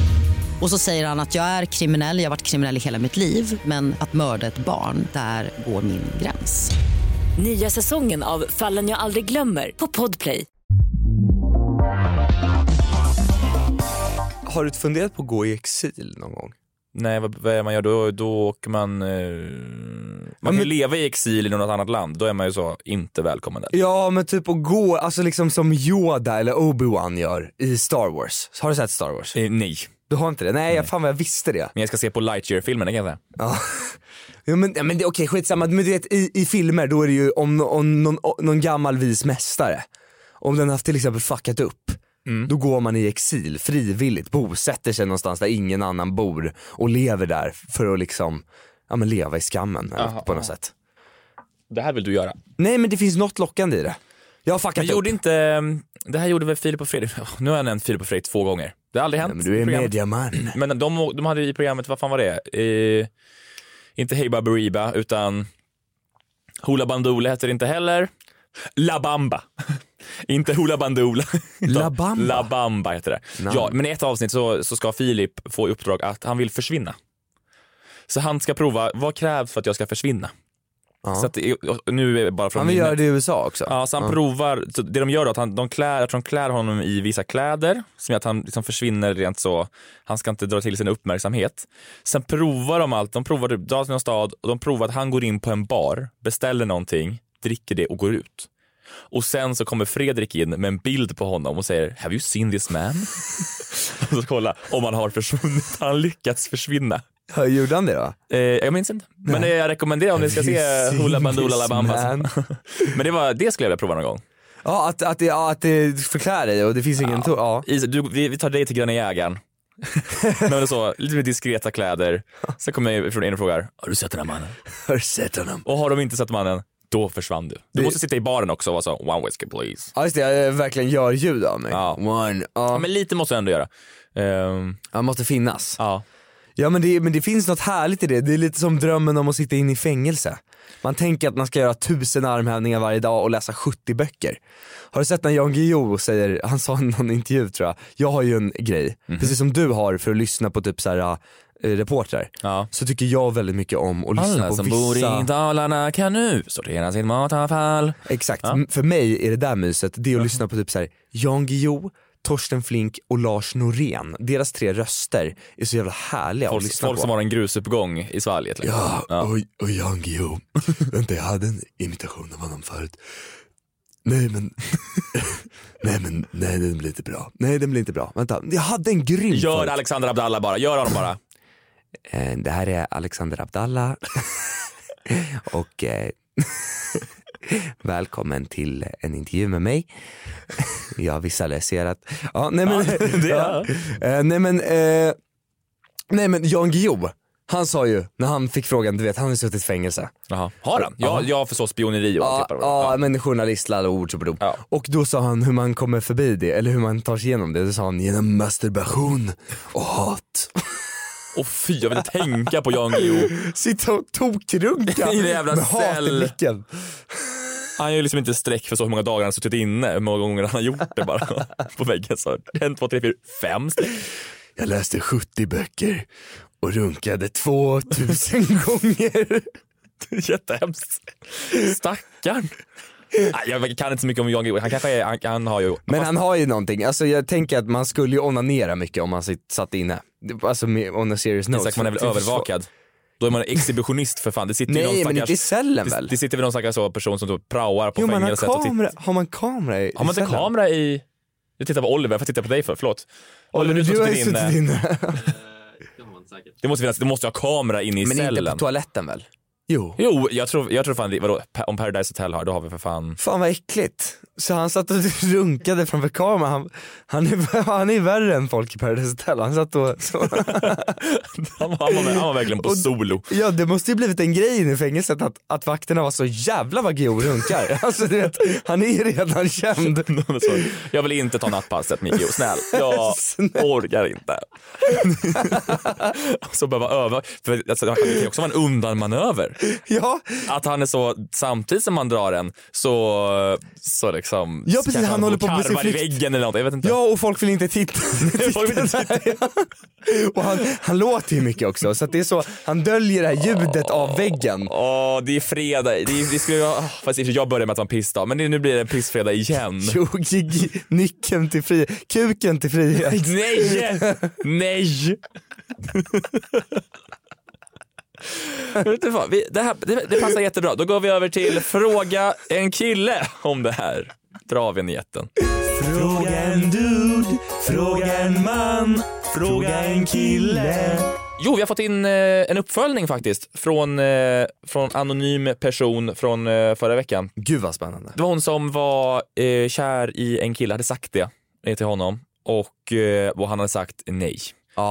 Speaker 10: Och så säger han att jag är kriminell, jag har varit kriminell i hela mitt liv men att mörda ett barn, där går min gräns.
Speaker 11: Nya säsongen av Fallen jag aldrig glömmer på Podplay.
Speaker 3: Har du funderat på att gå i exil någon gång?
Speaker 5: Nej, vad, vad är man gör då? Då åker man... Eh, man kan ju leva i exil i något annat land, då är man ju så inte välkommen där.
Speaker 3: Ja men typ att gå, alltså liksom som Yoda eller Obi-Wan gör i Star Wars. Har du sett Star Wars?
Speaker 5: Eh, nej.
Speaker 3: Du har inte det? Nej, jag fan vad jag visste det.
Speaker 5: Men jag ska se på Lightyear-filmen, det kan jag säga.
Speaker 3: Ja. Ja, men, ja, men det, okej skitsamma, men du vet i, i filmer då är det ju om, no- om någon, o- någon gammal vis mästare, om den har till exempel fuckat upp,
Speaker 5: Mm.
Speaker 3: då går man i exil frivilligt, bosätter sig någonstans där ingen annan bor och lever där för att liksom, ja men leva i skammen eller
Speaker 5: Aha,
Speaker 3: på något
Speaker 5: aha.
Speaker 3: sätt.
Speaker 5: Det här vill du göra.
Speaker 3: Nej men det finns något lockande i det. Jag har fuckat
Speaker 5: Men
Speaker 3: upp.
Speaker 5: gjorde inte... ehm, Det här gjorde väl Filip och Fredrik? Åh, Nu har jag nämnt Filip och Fredrik två gånger. Det har aldrig hänt.
Speaker 3: men du är
Speaker 5: i programmet.
Speaker 3: mediaman.
Speaker 5: Men de, de hade i programmet, vad fan var det? Eh, inte Hey Baberiba, utan Hoola Bandoola heter det inte heller. La Bamba. inte Hoola Bandoola. La
Speaker 3: Bamba?
Speaker 5: La Bamba heter det.
Speaker 3: Nej.
Speaker 5: Ja, men i ett avsnitt så, så ska Filip få i uppdrag att han vill försvinna. Så han ska prova, vad krävs för att jag ska försvinna? Så att, det- och nu är det bara från
Speaker 3: Han vill
Speaker 5: minnet.
Speaker 3: göra det i USA också.
Speaker 5: Ja, så han provar. Så det de gör då är att han, de klär, jag tror de klär honom i vissa kläder som gör att han liksom försvinner rent så. Han ska inte dra till sin uppmärksamhet. Sen provar de allt. De provar typ, drar till någon stad och de provar att han går in på en bar, beställer någonting, dricker det och går ut. Och sen så kommer Fredrik in med en bild på honom och säger “Have you seen this man?” Och så kolla om han har försvunnit. Har han lyckats försvinna?
Speaker 3: Ja, Gjorde han det då?
Speaker 5: Eh, jag minns inte. Men eh, jag rekommenderar om ni ska
Speaker 3: Have
Speaker 5: se
Speaker 3: you seen
Speaker 5: Hoola Bandoola La
Speaker 3: this
Speaker 5: Bamba.
Speaker 3: man?
Speaker 5: Men det, var, det skulle jag vilja prova någon gång.
Speaker 3: Ja, att, att, det- ja, att det förklär dig och det finns ingen... to- Ja.
Speaker 5: Is, du, vi, vi tar dig till Gröna Jägaren. Men så, lite mer diskreta kläder. Sen kommer jag från en och frågar, har du sett den här mannen?
Speaker 3: Har du sett honom?
Speaker 5: Och har de inte sett mannen, då försvann du. Du måste sitta i baren också och vara så, one whiskey please.
Speaker 3: Ja just det, jag eh, verkligen gör ljud av mig. One, ja.
Speaker 5: men lite måste jag ändå göra. Um,
Speaker 3: Han måste finnas.
Speaker 5: Ja.
Speaker 3: Ja men det, men det finns något härligt i det, det är lite som drömmen om att sitta in i fängelse. Man tänker att man ska göra tusen armhävningar varje dag och läsa 70 böcker. Har du sett när Jan Guillou säger, han sa i någon intervju tror jag, jag har ju en grej,
Speaker 5: Mhm.
Speaker 3: precis som du har för att lyssna på typ så här eh, reportrar, så tycker jag väldigt mycket om att lyssna
Speaker 5: Alla
Speaker 3: på
Speaker 5: som
Speaker 3: vissa...
Speaker 5: bor i Dalarna kan nu sortera sitt matavfall.
Speaker 3: Exakt, M- för mig är det där myset, det är att lyssna på typ så här, Jan Guillou, Torsten Flink och Lars Norén. Deras tre röster är så jävla härliga att
Speaker 5: Folk,
Speaker 3: lyssna
Speaker 5: folk
Speaker 3: på.
Speaker 5: som har en grusuppgång i svalget. liksom.
Speaker 3: och, och Jan Guillou. Vänta, jag hade en imitation av honom förut. Nej men, nej men, nej den blir inte bra. Nej den blir inte bra. Vänta, jag hade en grym
Speaker 5: Gör
Speaker 3: förut.
Speaker 5: Alexander Abdallah bara, gör honom bara.
Speaker 3: Eh, Det här är Alexander Abdallah och eh, välkommen till en intervju med mig. Jag har visualiserat. Ja, nej men,
Speaker 5: Ja, det-
Speaker 3: ja. Eh, nej men, eh, nej men Jan Guillou, han sa ju när han fick frågan, du vet han har suttit i fängelse.
Speaker 5: Har han? Ja, jag förstår spioneri och
Speaker 3: Ja,
Speaker 5: allt typ det där.
Speaker 3: ja, men journalist, ladd och ord, tjobbadom. Och då sa han hur man kommer förbi det, eller hur man tar sig igenom det. Då sa han genom masturbation och hat.
Speaker 5: Åh fy, jag vill inte tänka på Jan Guillou.
Speaker 3: Sitta och tokrunka
Speaker 5: I det jävla
Speaker 3: med hat i
Speaker 5: cell.
Speaker 3: blicken.
Speaker 5: Han gör liksom inte streck för så hur många dagar han har suttit inne, hur många gånger han har gjort det bara på väggen. Så en, två, tre, fyra, fem streck.
Speaker 3: Jag läste 70 böcker och runkade 2000 gånger.
Speaker 5: Jättehemskt. Stackarn. Nej, Jag kan inte så mycket om Jan Guillou. Han kanske är, han, han har ju...
Speaker 3: Men han har ju någonting, alltså jag tänker att man skulle ju onanera mycket om man sitt- satt inne. Alltså med, on a serious note.
Speaker 5: Isak, man är väl
Speaker 3: Till försvar-
Speaker 5: övervakad? Då är man exhibitionist för fan. Det sitter ju
Speaker 3: Nej,
Speaker 5: någon
Speaker 3: men
Speaker 5: stackars,
Speaker 3: inte i cellen
Speaker 5: det-
Speaker 3: väl?
Speaker 5: Det sitter väl någon stackars så person som typ praoar på
Speaker 3: Jo man har
Speaker 5: fängelset och tittar.
Speaker 3: kamera, har man kamera i
Speaker 5: Har man
Speaker 3: i
Speaker 5: inte
Speaker 3: cellen?
Speaker 5: kamera i... Jag tittar på Oliver, jag får titta på dig för, förlåt.
Speaker 3: Oliver, du har ju suttit inne.
Speaker 5: Det måste finnas, det måste ha kamera inne i
Speaker 3: Men inte
Speaker 5: cellen.
Speaker 3: på toaletten väl? Jo.
Speaker 5: Jo, jag tror, jag tror fan, det- vadå, Pa- om Paradise Hotel har, då har vi för fan...
Speaker 3: Fan vad äckligt. Så han satt och runkade framför kameran. Han, han, är, han är värre än folk i Paradise Hotel. Han satt och så.
Speaker 5: Han var, han var, han var verkligen på
Speaker 3: Och-
Speaker 5: solo.
Speaker 3: Ja det måste ju blivit en grej inne i fängelset att, att vakterna var så jävla vad Guillou runkar. Alltså du vet, han är ju redan känd.
Speaker 5: Jag vill inte ta nattpasset Mikio, snäll. Jag orkar inte. så behöva öva. För alltså, det kan ju också vara en undanmanöver.
Speaker 3: Ja.
Speaker 5: Att han är så, samtidigt som man drar en så, så liksom.
Speaker 3: Ja, precis,
Speaker 5: kanske
Speaker 3: han håller på med sin
Speaker 5: karvar i
Speaker 3: flykt.
Speaker 5: väggen eller något, jag vet inte.
Speaker 3: Ja och folk vill inte titta. och han, han låter ju mycket också så att det är så, han döljer det här ljudet av väggen.
Speaker 5: Åh, det är fredag. Det, är, det skulle jag, ah, fast i och för sig, jag började med att vara en pissdag, men det- nu blir det en pissfredag igen.
Speaker 3: Jo, gi- gi- nyckeln till frihet, kuken till frihet.
Speaker 5: Nej! Nej! Jag vet inte vad, vi, det, här, det, det passar jättebra. Då går vi över till fråga en kille om det här. Dra av vignetten.
Speaker 12: Fråga en dude, fråga en man, fråga en kille.
Speaker 5: Jo, vi har fått in eh, en uppföljning faktiskt från, eh, från anonym person från eh, förra veckan.
Speaker 3: Gud vad spännande.
Speaker 5: Det var hon som var eh, kär i en kille, hade sagt det eh, till honom och, eh, och han hade sagt nej.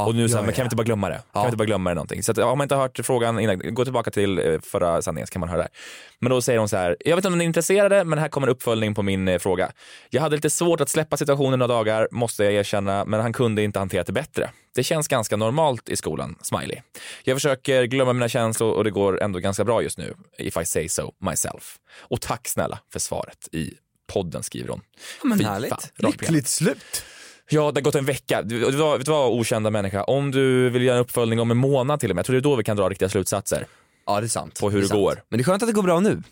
Speaker 5: och nu så här,
Speaker 3: ja,
Speaker 5: men kan vi inte bara glömma det? Kan vi inte bara glömma det någonting? Så att, om man inte har hört frågan innan, gå tillbaka till eh, förra sändningen så kan man höra det. här. Men då säger hon så här, jag vet inte om ni är intresserade men här kommer en uppföljning på min eh, fråga. Jag hade lite svårt att släppa situationen några dagar, måste jag erkänna, men han kunde inte hantera det bättre. Det känns ganska normalt i skolan, smiley. Jag försöker glömma mina känslor och det går ändå ganska bra just nu, if I say so myself. Och tack snälla för svaret i podden, skriver hon.
Speaker 3: Men
Speaker 5: Fy
Speaker 3: härligt.
Speaker 5: fan, rakt på hjärtat.
Speaker 3: Lyckligt slut.
Speaker 5: Ja, det har gått en vecka. Du- Vet du vad, vet du vad okända människa? Om du vill göra en uppföljning om en månad till och med, jag tror det är då vi kan dra riktiga slutsatser.
Speaker 3: Ja, det är sant.
Speaker 5: På hur det,
Speaker 3: sant.
Speaker 5: går.
Speaker 3: Men det är skönt att det går bra nu.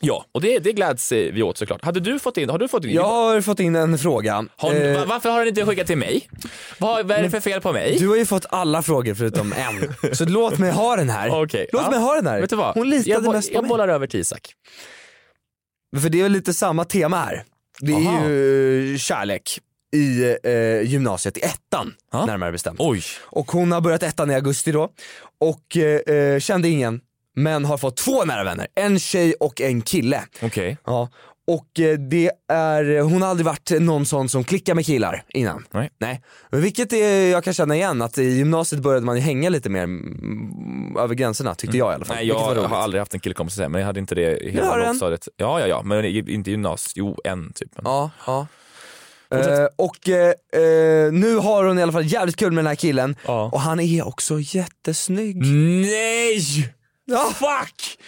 Speaker 5: Ja, och det, det gläds eh, vi åt såklart. Hade du fått in, har du fått in?
Speaker 3: Jag har fått in en fråga.
Speaker 5: Har,
Speaker 3: Eh,
Speaker 5: va- varför har den inte skickat till mig? Vad, vad är det för fel på mig?
Speaker 3: Du har ju fått alla frågor förutom en, så låt mig ha den här.
Speaker 5: Okej,
Speaker 3: låt
Speaker 5: ja.
Speaker 3: mig ha den här.
Speaker 5: Vet du vad?
Speaker 3: Hon litade
Speaker 5: jag, bo-
Speaker 3: mest på
Speaker 5: Jag
Speaker 3: mig.
Speaker 5: bollar över till Isak.
Speaker 3: För det är väl lite samma tema här. Det är
Speaker 5: Aha.
Speaker 3: ju eh, kärlek i eh, gymnasiet, i ettan närmare bestämt.
Speaker 5: Oj.
Speaker 3: Och hon har börjat ettan i augusti då och eh, eh, kände ingen men har fått två nära vänner, en tjej och en kille.
Speaker 5: Okej.
Speaker 3: Ja. Och eh, det är, hon har aldrig varit någon sån som klickar med killar innan.
Speaker 5: Nej.
Speaker 3: Nej. Men Vilket är, jag kan känna igen, att i gymnasiet började man ju hänga lite mer mm, över gränserna tyckte jag i alla fall.
Speaker 5: Nej, jag
Speaker 3: Vilket var roligt.
Speaker 5: har aldrig haft en killkompis så här, men jag hade inte det i
Speaker 3: har
Speaker 5: hela
Speaker 3: du en.
Speaker 5: lågstadiet. Ja, ja, ja, men i- inte i gymnasiet. Jo, en typ. Men.
Speaker 3: Ja, ja. Eh, och eh, eh, nu har hon i alla fall jävligt kul med den här killen och han är också jättesnygg.
Speaker 5: Nej!
Speaker 3: Ja.
Speaker 5: Mm. Fuck!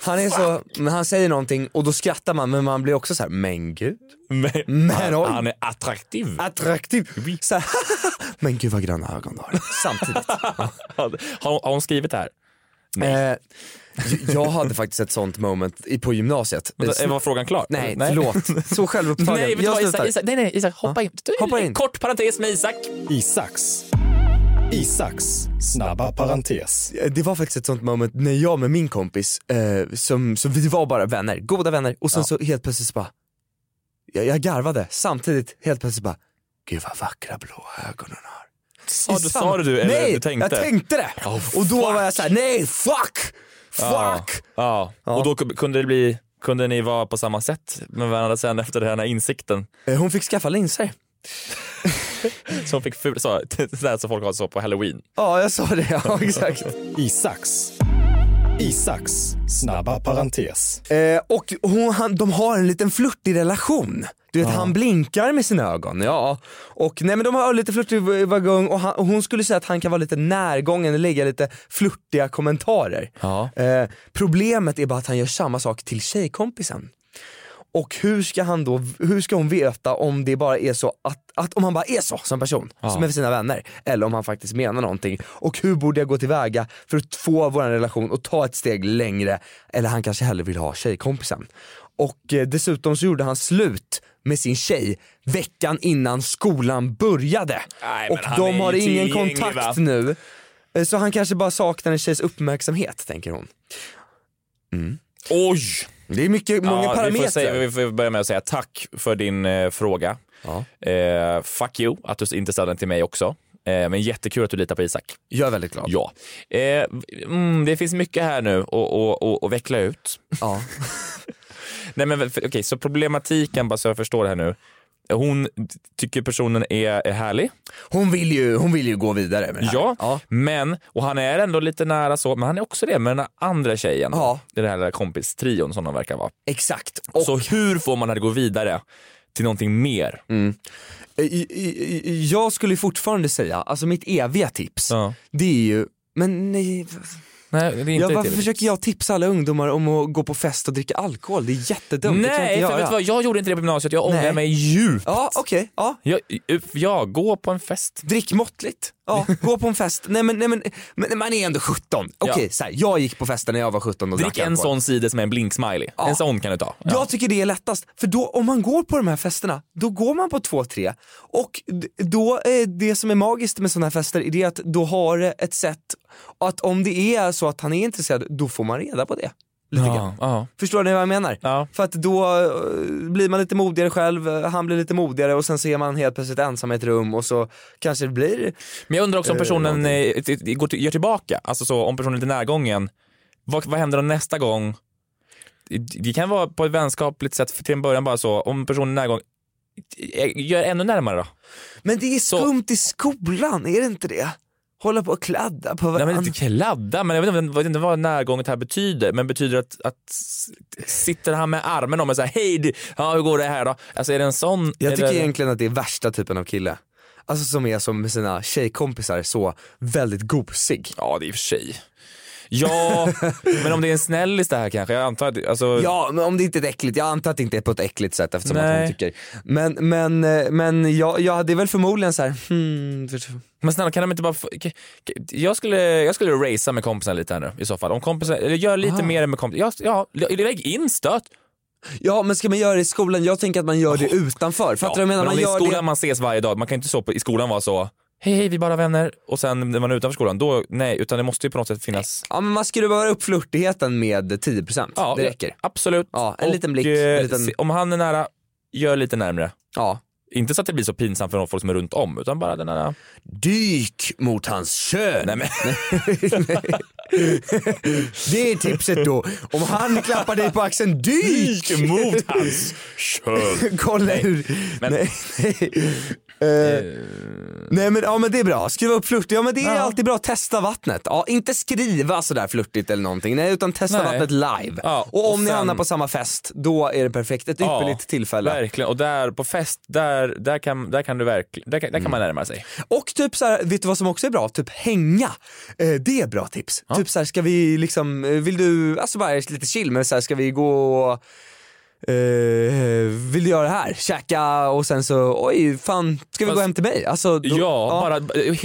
Speaker 3: Han är så, men han säger någonting och då skrattar man men man blir också så här, men gud.
Speaker 5: Men,
Speaker 3: men oj.
Speaker 5: Han är attraktiv.
Speaker 3: Attraktiv. Så här, men gud vad gröna ögon du har. Samtidigt.
Speaker 5: har, har hon skrivit det här?
Speaker 3: Eh, j- jag hade faktiskt ett sånt moment i, på gymnasiet.
Speaker 5: Men då-
Speaker 3: Eh,
Speaker 5: var frågan klart?
Speaker 3: Nej,
Speaker 5: Nej.
Speaker 3: förlåt. Så självupptagen.
Speaker 5: Nej, vet du
Speaker 3: Jag
Speaker 5: vad, Isak,
Speaker 3: slutar. Ah,
Speaker 5: Isak, nej, nej, Isak, hoppa in.
Speaker 3: Hoppa in.
Speaker 5: Kort parentes med Isak.
Speaker 13: Isaks. Isaks snabba parentes.
Speaker 3: Eh, Det var faktiskt ett sånt moment när jag med min kompis, eh, som, som vi var bara vänner, goda vänner och sen så helt plötsligt så bara, jag, jag garvade samtidigt helt plötsligt bara, gud vad vackra blå ögon hon har.
Speaker 5: Sa
Speaker 3: I
Speaker 5: du-
Speaker 3: samma-
Speaker 5: sa du eller
Speaker 3: nej,
Speaker 5: du tänkte?
Speaker 3: jag tänkte det!
Speaker 5: Oh,
Speaker 3: och då var jag såhär, nej fuck!
Speaker 5: Ja,
Speaker 3: Fuck!
Speaker 5: ja. och då ku- kunde det bli, kunde ni vara på samma sätt med varandra sen efter den här insikten?
Speaker 3: Eh, Hon fick skaffa linser.
Speaker 5: Som fick ful, så, sådär som folk har så på halloween.
Speaker 3: Ja, jag sa det, ja exakt.
Speaker 13: Isaks. Isaks snabba parentes.
Speaker 3: Eh, och hon, han, de har en liten flörtig relation. Du vet, han blinkar med sina ögon. Ja. Och nej men de har lite flörtig v- vagong och, han, och hon skulle säga att han kan vara lite närgången och lägga lite flörtiga kommentarer.
Speaker 5: Ja.
Speaker 3: Eh, problemet är bara att han gör samma sak till tjejkompisen. Och hur ska, han då, hur ska hon veta om det bara är så att, att om han bara är så som person,
Speaker 5: Ja.
Speaker 3: som är för sina vänner, eller om han faktiskt menar någonting. Och hur borde jag gå tillväga för att få vår relation att ta ett steg längre, eller han kanske hellre vill ha tjejkompisen. Och eh, dessutom så gjorde han slut med sin tjej veckan innan skolan började.
Speaker 5: Nej, men
Speaker 3: och
Speaker 5: han är
Speaker 3: de
Speaker 5: ju
Speaker 3: har ingen
Speaker 5: tillgänglig,
Speaker 3: kontakt
Speaker 5: va?
Speaker 3: nu. Eh, Så han kanske bara saknar en tjejs uppmärksamhet, tänker hon.
Speaker 5: Oj!
Speaker 3: Det är mycket, många
Speaker 5: Ja, Vi får,
Speaker 3: parametrar.
Speaker 5: säga, vi får börja med att säga tack för din eh, fråga. Eh, fuck you att du inte ställde den till mig också. Eh, men jättekul att du litar på Isak.
Speaker 3: Jag är väldigt glad.
Speaker 5: Ja. Eh, mm, det finns mycket här nu att och, och, och veckla ut.
Speaker 3: Ja.
Speaker 5: Nej men för- okej, så problematiken, bara så jag förstår det här nu. Hon tycker personen är, är härlig.
Speaker 3: Hon vill, ju, hon vill ju gå vidare med det här.
Speaker 5: Ja, men, och han är ändå lite nära så, men han är också det med den här andra tjejen. Ja. Den här lilla kompistrion som de verkar vara.
Speaker 3: Exakt.
Speaker 5: Så hur får man det att gå vidare till någonting mer?
Speaker 3: Mm. I- i- i- Jag skulle ju fortfarande säga, alltså mitt eviga tips, det är ju, men nej.
Speaker 5: Nej, det är inte
Speaker 3: ja, varför
Speaker 5: riktigt.
Speaker 3: försöker jag tipsa alla ungdomar om att gå på fest och dricka alkohol? Det är jättedumt, det kan jag
Speaker 5: Nej,
Speaker 3: inte
Speaker 5: för vet
Speaker 3: göra.
Speaker 5: du vad? jag gjorde inte det på gymnasiet. Jag ångrar
Speaker 3: Nej.
Speaker 5: mig djupt.
Speaker 3: Ja, okej. Ja.
Speaker 5: Jag, jag går på en fest.
Speaker 3: Drick måttligt. Ja, gå på en fest. Nej men, nej, men, men man är ändå 17. Okej,
Speaker 5: Ja.
Speaker 3: så här, jag gick på festen när jag var 17 och
Speaker 5: Drick
Speaker 3: drack
Speaker 5: en
Speaker 3: alkohol.
Speaker 5: sån cider som är en blink-smiley. En sån kan du ta.
Speaker 3: Jag tycker det är lättast, för då, om man går på de här festerna, då går man på två, tre. Och d- då, eh, det som är magiskt med sådana här fester är det att då har det ett sätt att om det är så att han är intresserad, då får man reda på det. Lite
Speaker 5: Ja,
Speaker 3: grann.
Speaker 5: ja.
Speaker 3: Förstår ni vad jag menar? För att då eh, blir man lite modigare själv, eh, han blir lite modigare och sen så är man helt plötsligt ensam i ett rum och så kanske det blir...
Speaker 5: Men jag undrar också om
Speaker 3: eh,
Speaker 5: personen
Speaker 3: någonting.
Speaker 5: eh, t- t- går till, gör tillbaka. Alltså så, om personen är lite närgången. Vad, vad händer då nästa gång? Det- Det kan vara på ett vänskapligt sätt för till en början bara så. Om personen är närgång, eh, gör ännu närmare då.
Speaker 3: Men det är skumt i skolan, är det inte det? Hålla på och kladda på
Speaker 5: Nej,
Speaker 3: varandra.
Speaker 5: men inte kladda, men jag vet inte, jag vet inte vad närgånget här betyder. Men betyder att, att s- sitter han med armen om och säger hej, du- ja, hur går det här då? Alltså är det en sån?
Speaker 3: Jag tycker
Speaker 5: eller-
Speaker 3: egentligen att det är värsta typen av kille. Alltså som är som med sina tjejkompisar så väldigt gosig.
Speaker 5: Ja det är i och för sig. Ja, men om det är en snällis det här kanske. Jag antar att, alltså...
Speaker 3: Ja men om det inte är ett äckligt, jag antar att det inte är på ett äckligt sätt eftersom att
Speaker 5: Nej.
Speaker 3: hon tycker. Men, men, eh, men jag, jag hade väl förmodligen så här. hmm, för-
Speaker 5: Men snälla kan de inte bara... få- k- k- Jag skulle, jag skulle racea med kompisarna lite här nu i så fall. Om kompisar, eller gör lite
Speaker 3: Aha.
Speaker 5: mer med kompisar. Ja, ja, lägg in stöt.
Speaker 3: Ja men ska man göra det i skolan? Jag tänker att man gör det utanför. Fattar du vad jag menar?
Speaker 5: Men om
Speaker 3: Man
Speaker 5: det är i
Speaker 3: gör
Speaker 5: skolan
Speaker 3: det...
Speaker 5: man ses varje dag, man kan ju inte så på, i skolan vara så hej hej vi är bara vänner och sen när man är utanför skolan, då nej, utan det måste ju på något sätt finnas.
Speaker 3: Ja men man skruvar upp flörtigheten med 10%.
Speaker 5: Ja,
Speaker 3: det räcker.
Speaker 5: Absolut.
Speaker 3: Ja, en
Speaker 5: Och,
Speaker 3: liten blick.
Speaker 5: eh,
Speaker 3: En liten...
Speaker 5: se- Om han är nära, gör lite närmre.
Speaker 3: Ja.
Speaker 5: Inte så att det blir så pinsamt för de folk som är runt om, utan bara den här...
Speaker 3: Dyk mot hans kön.
Speaker 5: Nej, men...
Speaker 3: Det är tipset då. Om han klappar dig på axeln, dyk!
Speaker 5: Dyk mot hans kön.
Speaker 3: Kolla
Speaker 5: Nej,
Speaker 3: hur...
Speaker 5: men-
Speaker 3: Nej, nej. Eh, nej men, ja, men det är bra, skriva upp flörtigt. Ja men det är alltid bra, testa vattnet. Ja, inte skriva sådär flörtigt eller någonting, nej utan testa
Speaker 5: Nej.
Speaker 3: vattnet live.
Speaker 5: Ja,
Speaker 3: och om
Speaker 5: och
Speaker 3: ni
Speaker 5: sen-
Speaker 3: hamnar på samma fest, då är det perfekt. Ett
Speaker 5: Ja,
Speaker 3: ypperligt tillfälle.
Speaker 5: Verkligen, och där på fest, där, där, kan, där kan du verkligen, där, kan- där kan
Speaker 3: Mm.
Speaker 5: man närma sig.
Speaker 3: Och typ så här, vet du vad som också är bra? Typ hänga. Eh, det är bra tips. Typ så här, ska vi liksom, eh, vill du, alltså bara lite chill, men så här, ska vi gå eh, vill du göra det här? Käka och sen så, oj fan, ska vi
Speaker 5: Fast-
Speaker 3: gå hem till mig? Alltså, då-
Speaker 5: Ja, Bara,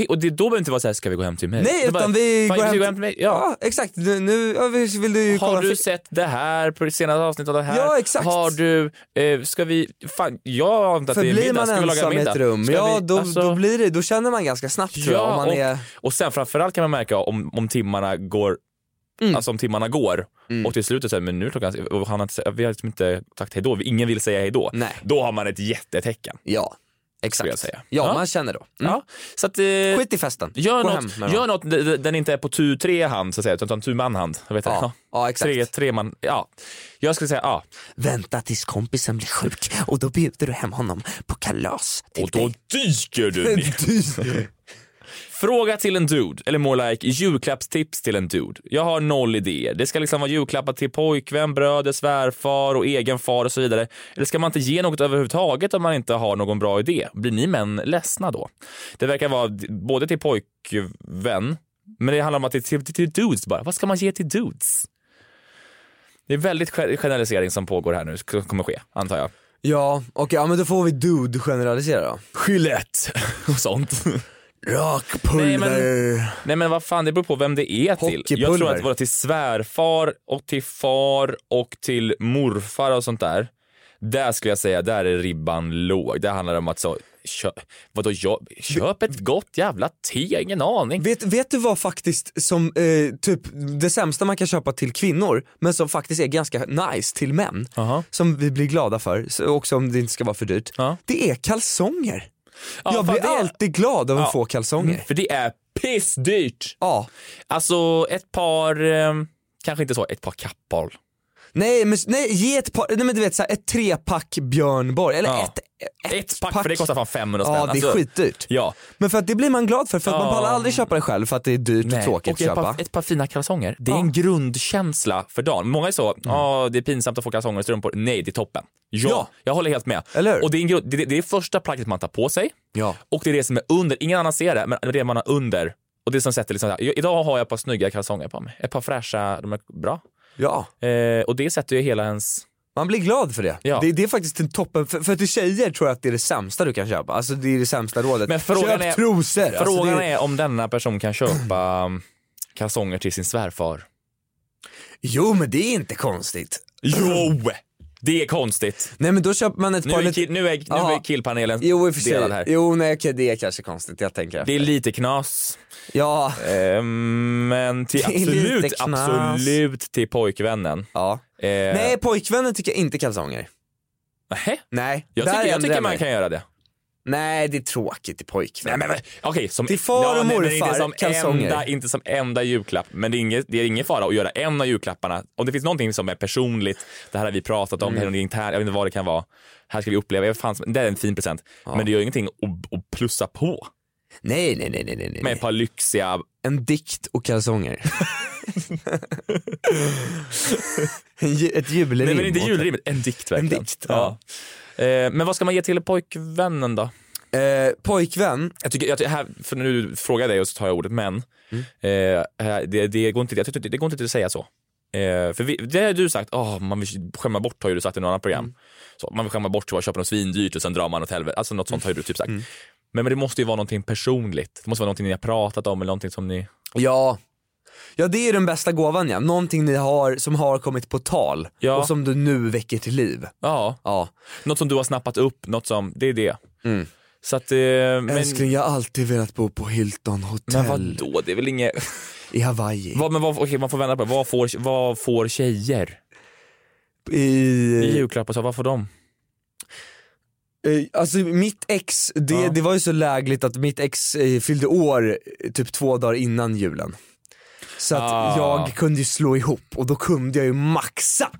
Speaker 5: och det, då behöver det inte vara såhär, ska vi gå hem till mig?
Speaker 3: Nej
Speaker 5: Det är bara,
Speaker 3: utan vi
Speaker 5: "Fan,
Speaker 3: går
Speaker 5: ska
Speaker 3: hem,
Speaker 5: vi gå hem till mig? Ja.
Speaker 3: ja exakt, nu, nu ja, vi- vill du kolla
Speaker 5: Har du
Speaker 3: fi-
Speaker 5: sett det här på det senaste avsnittet av det här?
Speaker 3: Ja, exakt.
Speaker 5: Har du, eh, ska vi, fan, jag antar att det är
Speaker 3: För blir
Speaker 5: middag,
Speaker 3: man
Speaker 5: ska vi laga
Speaker 3: ensam i
Speaker 5: middag?
Speaker 3: ett rum,
Speaker 5: Ska
Speaker 3: ja
Speaker 5: vi,
Speaker 3: då,
Speaker 5: alltså-
Speaker 3: då blir det, då känner man ganska snabbt tror jag. Om man
Speaker 5: och,
Speaker 3: är,
Speaker 5: och sen framförallt kan man märka om, om timmarna går
Speaker 3: Mm.
Speaker 5: Alltså om timmarna går och till slutet säger men nu är klockan, och han har inte, vi har liksom inte sagt hejdå, ingen vill säga hejdå.
Speaker 3: Nej.
Speaker 5: Då har man ett jättetecken.
Speaker 3: Ja, exakt.
Speaker 5: Jag säga.
Speaker 3: ja, man känner då. Mm.
Speaker 5: Ja, så att, eh,
Speaker 3: Skit i festen,
Speaker 5: Gör
Speaker 3: gå hem
Speaker 5: något,
Speaker 3: med dem.
Speaker 5: gör något d- d- den inte är på tu tre hand så att säga, utan tu man hand. Jag vet
Speaker 3: Ja, ja, exakt.
Speaker 5: Tre, tre man, ja. Jag skulle säga ja.
Speaker 3: Vänta tills kompisen blir sjuk och då bjuder du hem honom på kalas till
Speaker 5: Och då dyker du ner. Fråga till en dude, eller more like julklappstips till en dude. Jag har noll idéer. Det ska liksom vara julklappar till pojkvän, bröder, svärfar och egen far och så vidare. Eller ska man inte ge något överhuvudtaget om man inte har någon bra idé? Blir ni män ledsna då? Det verkar vara d- både till pojkvän, men det handlar om att det är till, till, till dudes bara. Vad ska man ge till dudes? Det är väldigt ge- generalisering som pågår här nu, som kommer ske, antar jag.
Speaker 3: Ja, okej, ja, men då får vi dude generalisera då.
Speaker 5: Gillette och sånt.
Speaker 3: Rakpulver.
Speaker 5: Nej men, nej men vad fan, det beror på vem det är till. Jag tror att det var till svärfar och till far och till morfar och sånt där. Där skulle jag säga, där är ribban låg. Där handlar det om att så, köp, vadå, jag, köp ett gott jävla te, ingen aning.
Speaker 3: Vet, vet du vad faktiskt som, eh, typ det sämsta man kan köpa till kvinnor, men som faktiskt är ganska nice till män, som vi blir glada för, så- också om det inte ska vara för dyrt, det är kalsonger. jag
Speaker 5: fan,
Speaker 3: blir
Speaker 5: det är-
Speaker 3: alltid glad av att
Speaker 5: Ja. Mm.
Speaker 3: få kalsonger.
Speaker 5: För det är pissdyrt.
Speaker 3: Ja.
Speaker 5: Alltså ett par, eh, kanske inte så, ett par kappahl.
Speaker 3: Nej men nej, ge ett par, nej men du vet såhär ett trepack Björn Borg, eller
Speaker 5: Ja.
Speaker 3: ett, ett,
Speaker 5: pack, för det kostar fan 500 spänn.
Speaker 3: Ja det är
Speaker 5: Alltså,
Speaker 3: skitdyrt.
Speaker 5: Ja.
Speaker 3: Men för att det blir man glad för, för att man
Speaker 5: Ja.
Speaker 3: pallar aldrig köpa det själv för att det är dyrt och
Speaker 5: Nej,
Speaker 3: tråkigt
Speaker 5: och
Speaker 3: att
Speaker 5: ett
Speaker 3: köpa.
Speaker 5: par, ett par fina kalsonger. Det är en grundkänsla för dagen. Många är så, "Ah, det är pinsamt att få kalsonger och strumpor. Nej, det är toppen. Ja,
Speaker 3: Ja.
Speaker 5: jag håller helt med. Och det, är en grund, det, det- det är första plagget man tar på sig
Speaker 3: Ja.
Speaker 5: och det är det som är under. Ingen annan ser det, men det man har under och det som sätter liksom, så här, idag har jag ett par snygga kalsonger på mig. Ett par fräscha, de är bra.
Speaker 3: Ja.
Speaker 5: Eh, och det sätter ju hela ens...
Speaker 3: Man blir glad för det.
Speaker 5: Ja.
Speaker 3: Det, det är faktiskt en toppen, för, för till tjejer tror jag att det är det sämsta du kan köpa. Alltså det är det sämsta rådet.
Speaker 5: Men frågan
Speaker 3: Köp
Speaker 5: är,
Speaker 3: trosor!
Speaker 5: Frågan
Speaker 3: alltså, det
Speaker 5: är om denna person kan köpa um, kalsonger till sin svärfar.
Speaker 3: Jo men det är inte konstigt.
Speaker 5: Jo! Det är konstigt.
Speaker 3: Nej men då köper man ett
Speaker 5: Nu
Speaker 3: par...
Speaker 5: är
Speaker 3: lite-
Speaker 5: kill- nu är- nu
Speaker 3: Ja.
Speaker 5: är killpanelen
Speaker 3: jo, i och för sig.
Speaker 5: delad här.
Speaker 3: Jo nej okej det är kanske konstigt, jag tänker
Speaker 5: Det
Speaker 3: efter.
Speaker 5: är lite knas. eh,
Speaker 3: Ja.
Speaker 5: men till
Speaker 3: Det är lite
Speaker 5: absolut,
Speaker 3: knas.
Speaker 5: absolut till pojkvännen. Eh,
Speaker 3: Ja. Nej pojkvännen tycker inte kalsonger.
Speaker 5: Nej.
Speaker 3: Nej,
Speaker 5: Jag
Speaker 3: där
Speaker 5: tycker, jag
Speaker 3: ändrar
Speaker 5: tycker man
Speaker 3: mig.
Speaker 5: kan göra det.
Speaker 3: Nej det är tråkigt till pojkvän.
Speaker 5: Nej, men, Okej, som,
Speaker 3: Till far och
Speaker 5: Ja, nej, men
Speaker 3: morfar,
Speaker 5: inte som,
Speaker 3: kalsonger.
Speaker 5: enda, inte som enda julklapp, men det är, inget, det är ingen fara att göra en av julklapparna. Om det finns någonting som är personligt, det här har vi pratat om,
Speaker 3: Mm.
Speaker 5: det här är något internt, jag vet inte vad det kan vara. Här ska vi uppleva, jag fan, det är en fin present. Men det gör ingenting att, att plussa på.
Speaker 3: Nej, nej, nej, nej, nej, nej.
Speaker 5: Med ett par lyxiga...
Speaker 3: En dikt och kalsonger. En ju- ett julrim.
Speaker 5: Nej men inte
Speaker 3: åt-
Speaker 5: julrim, en dikt verkligen.
Speaker 3: En dikt,
Speaker 5: ja. Eh, Men vad ska man ge till pojkvännen då?
Speaker 3: Eh, pojkvän?
Speaker 5: Jag tycker, jag, tycker- här, för nu frågar jag dig och så tar jag ordet men. Eh, här, det, det, går inte, jag tycker, det går inte att säga så. Eh, för vi, det har du sagt, åh, man vill skämma bort har ju du sagt i något annat program. Så, man vill skämma bort så bara köper något svindyrt och sen drar man åt helvete. Alltså något sånt har ju du typ sagt. Men, men det måste ju vara någonting personligt. Det måste vara någonting ni har pratat om eller någonting som ni...
Speaker 3: Ja. Ja det är ju den bästa gåvan ja, någonting ni har som har kommit på tal
Speaker 5: Ja.
Speaker 3: och som du nu väcker till liv.
Speaker 5: Ja. Något som du har snappat upp, något som, det är det. Så att, eh, men,
Speaker 3: Älskling jag har alltid velat bo på Hilton
Speaker 5: men
Speaker 3: hotell
Speaker 5: vadå, det är väl inget...
Speaker 3: i Hawaii.
Speaker 5: Vad, men vad, okej, man får vända på det. Vad får, vad får tjejer?
Speaker 3: I,
Speaker 5: I julklapp och så, vad får de?
Speaker 3: Eh, Alltså mitt ex, det,
Speaker 5: Ja.
Speaker 3: det var ju så lägligt att mitt ex eh, fyllde år eh, typ två dagar innan julen. Så att
Speaker 5: Ah.
Speaker 3: jag kunde ju slå ihop och då kunde jag ju maxa.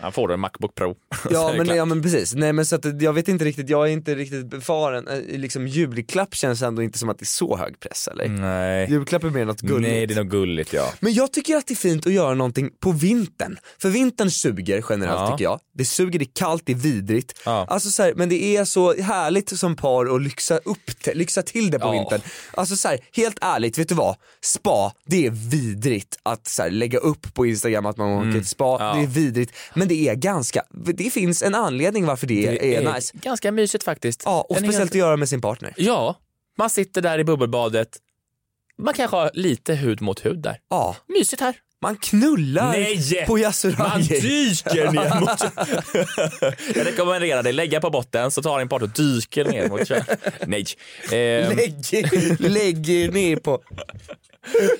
Speaker 5: Han får en Macbook Pro. Så
Speaker 3: Ja
Speaker 5: är det
Speaker 3: men,
Speaker 5: klart.
Speaker 3: ja men precis, nej men så att eh, jag vet inte riktigt, jag är inte riktigt befaren, Eh, liksom julklapp känns ändå inte som att det är så hög press eller?
Speaker 5: Nej.
Speaker 3: Julklapp är mer något gulligt.
Speaker 5: Nej, det är något gulligt ja.
Speaker 3: Men jag tycker att det är fint att göra någonting på vintern. För vintern suger generellt
Speaker 5: Ja.
Speaker 3: tycker jag. Det suger, det är kallt, det är vidrigt. Alltså så här, men det är så härligt som par att lyxa, upp te, lyxa till det på
Speaker 5: Ja.
Speaker 3: vintern. Alltså så här, helt ärligt, vet du vad? Spa, det är vidrigt att så här, lägga upp på Instagram att man
Speaker 5: Mm.
Speaker 3: åker till spa. Det är vidrigt. Men det är ganska, det finns en anledning varför det,
Speaker 5: Det
Speaker 3: är,
Speaker 5: är
Speaker 3: nice.
Speaker 5: ganska mysigt faktiskt.
Speaker 3: Ja, och
Speaker 5: Den är
Speaker 3: speciellt
Speaker 5: helt-
Speaker 3: att göra med sin partner.
Speaker 5: Ja, man sitter där i bubbelbadet. Man kanske har lite hud mot hud där.
Speaker 3: Ja.
Speaker 5: Mysigt här.
Speaker 3: Man knullar
Speaker 5: Nej!
Speaker 3: på
Speaker 5: Man typ-
Speaker 3: Yasuragi.
Speaker 5: dyker ner mot... Jag rekommenderar dig, lägga på botten så tar din part och dyker ner mot kön. Nej. Ehm,
Speaker 3: Lägg, lägg ner på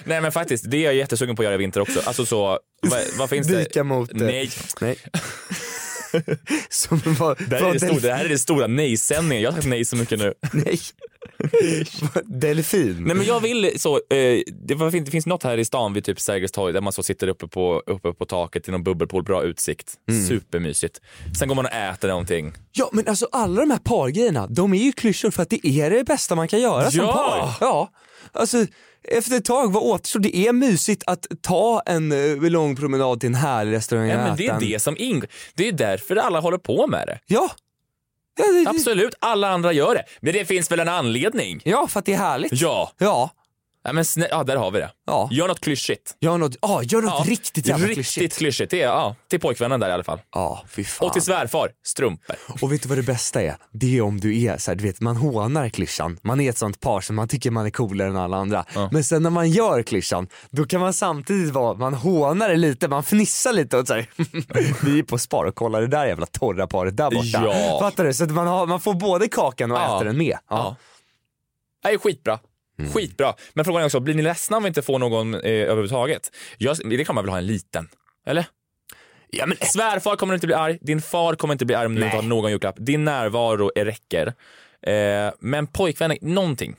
Speaker 5: nej men faktiskt, det är jag jättesugen på att göra i vinter också. Alltså så, vad, vad finns det?
Speaker 3: Dyka mot eh, det.
Speaker 5: Nej.
Speaker 3: Nej. Som var,
Speaker 5: Det här,
Speaker 3: var
Speaker 5: är det,
Speaker 3: delf-
Speaker 5: stora, det här är det stora nej-sändningen. Jag har sagt nej så mycket nu.
Speaker 3: Nej. Delfin.
Speaker 5: Nej men jag vill så, eh, det, var, det finns något här i stan vid typ Sergels torg där man så sitter uppe på, uppe på taket i någon bubbelpool, bra utsikt.
Speaker 3: Mm.
Speaker 5: Supermysigt. Sen går man och äter någonting.
Speaker 3: Ja men alltså alla de här pargrejerna, de är ju klyschor för att det är det bästa man kan göra som
Speaker 5: Ja.
Speaker 3: par. Ja! Alltså efter ett tag, vad återstår? Det är mysigt att ta en eh, lång promenad till en härlig restaurang
Speaker 5: Ja,
Speaker 3: och
Speaker 5: men det
Speaker 3: äta
Speaker 5: är
Speaker 3: en-
Speaker 5: det som ingår. Det är därför alla håller på med det.
Speaker 3: Ja.
Speaker 5: Absolut, alla andra gör det. Men det finns väl en anledning?
Speaker 3: Ja, för att det är härligt.
Speaker 5: Ja.
Speaker 3: Ja.
Speaker 5: Ja, men snä- ja, där har vi det.
Speaker 3: Ja.
Speaker 5: Gör något klyschigt.
Speaker 3: Gör något, ja, gör något riktigt jävla
Speaker 5: riktigt
Speaker 3: klyschigt.
Speaker 5: klyschigt. Det är, ja, till pojkvännen där i alla fall.
Speaker 3: Ja, fy fan.
Speaker 5: Och till svärfar, strumpor.
Speaker 3: Och vet du vad det bästa är? Det är om du är så här, du vet man hånar klyschan, man är ett sånt par som man tycker man är coolare än alla andra. Men sen när man gör klyschan, då kan man samtidigt vara, man hånar det lite, man fnissar lite och så här, vi är på spar och kollar det där jävla torra paret där borta.
Speaker 5: Ja.
Speaker 3: Fattar du? Så att man, har, man får både kakan och äter den med. Ja.
Speaker 5: Det är skitbra.
Speaker 3: Mm.
Speaker 5: Skitbra. Men frågan är också, blir ni ledsna om vi inte får någon eh, överhuvudtaget? Jag, det kan man väl ha en liten? Eller?
Speaker 3: Ja, men...
Speaker 5: Svärfar kommer inte bli arg, din far kommer inte bli arg om du inte har någon julklapp. Din närvaro är räcker. Eh, men pojkvänner, någonting.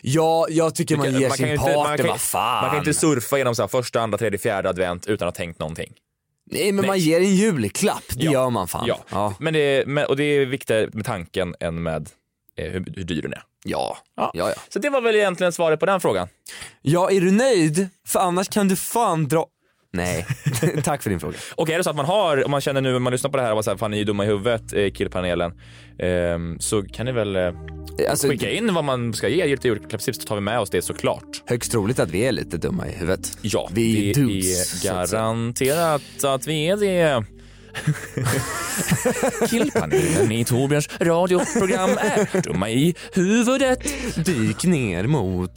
Speaker 3: Ja, jag tycker
Speaker 5: Du
Speaker 3: man
Speaker 5: kan-
Speaker 3: ger
Speaker 5: kan
Speaker 3: sin
Speaker 5: ju
Speaker 3: partner,
Speaker 5: man kan, ju-
Speaker 3: vad fan.
Speaker 5: Man kan ju inte surfa genom så här första, andra, tredje, fjärde advent utan att ha tänkt någonting.
Speaker 3: Nej men
Speaker 5: Nej.
Speaker 3: man ger en julklapp, det
Speaker 5: Ja.
Speaker 3: gör man fan.
Speaker 5: Ja, Men det, men, och det är viktigare med tanken än med eh, hur, hur dyr den är.
Speaker 3: Ja.
Speaker 5: Ja.
Speaker 3: ja,
Speaker 5: Så det var väl egentligen svaret på den frågan.
Speaker 3: Ja, är du nöjd? För annars kan du fan dra... Nej, tack för din fråga.
Speaker 5: Och är det så att man har, om man känner nu när man lyssnar på det här och bara så här, fan ni är dumma i huvudet, eh, killpanelen, ehm, så kan ni väl eh,
Speaker 3: Alltså,
Speaker 5: skicka in vad man ska ge er till julklappstips så tar vi med oss det såklart.
Speaker 3: Högst troligt att vi är lite dumma i huvudet.
Speaker 5: Ja,
Speaker 3: Vi är
Speaker 5: det
Speaker 3: dudes,
Speaker 5: är
Speaker 3: så att säga.
Speaker 5: garanterat att vi är det. Killpanelen i Torbjörns radioprogram är dumma i huvudet.
Speaker 3: Dyk ner mot...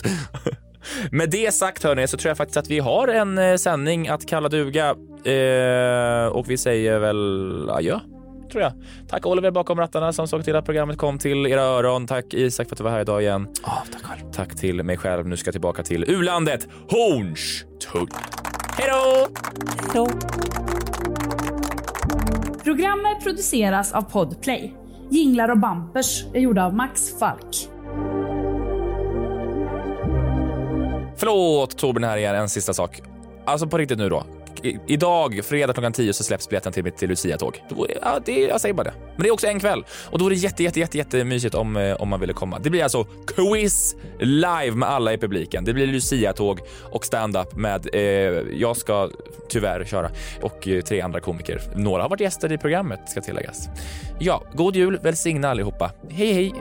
Speaker 5: Med det sagt hörni så tror jag faktiskt att vi har en eh, sändning att kalla duga eh, och vi säger väl adjö. Tror jag. Tack Oliver bakom rattarna som såg till att programmet kom till era öron. Tack Isak för att du var här idag igen.
Speaker 3: tack
Speaker 5: Tack till mig själv. Nu ska jag tillbaka till u-landet Hornstull. Hej då!
Speaker 14: Programmet produceras av Podplay. Jinglar och bampers är gjorda av Max Falk.
Speaker 5: Förlåt Torben här igen, en sista sak. Alltså på riktigt nu då. I, idag, fredag klockan 10 så släpps biljetten till mitt till Lucia-tåg. Då är- Ja, det, jag säger bara det. Men det är också en kväll. Och då är det jätte, jätte, jätte, jättemysigt om, eh, om man ville komma. Det blir alltså quiz live med alla i publiken. Det blir Lucia-tåg och stand-up med, eh, jag ska tyvärr köra, och eh, tre andra komiker. Några har varit gäster i programmet ska tilläggas. Ja, god jul, välsigna allihopa. Hej, hej!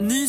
Speaker 1: Ny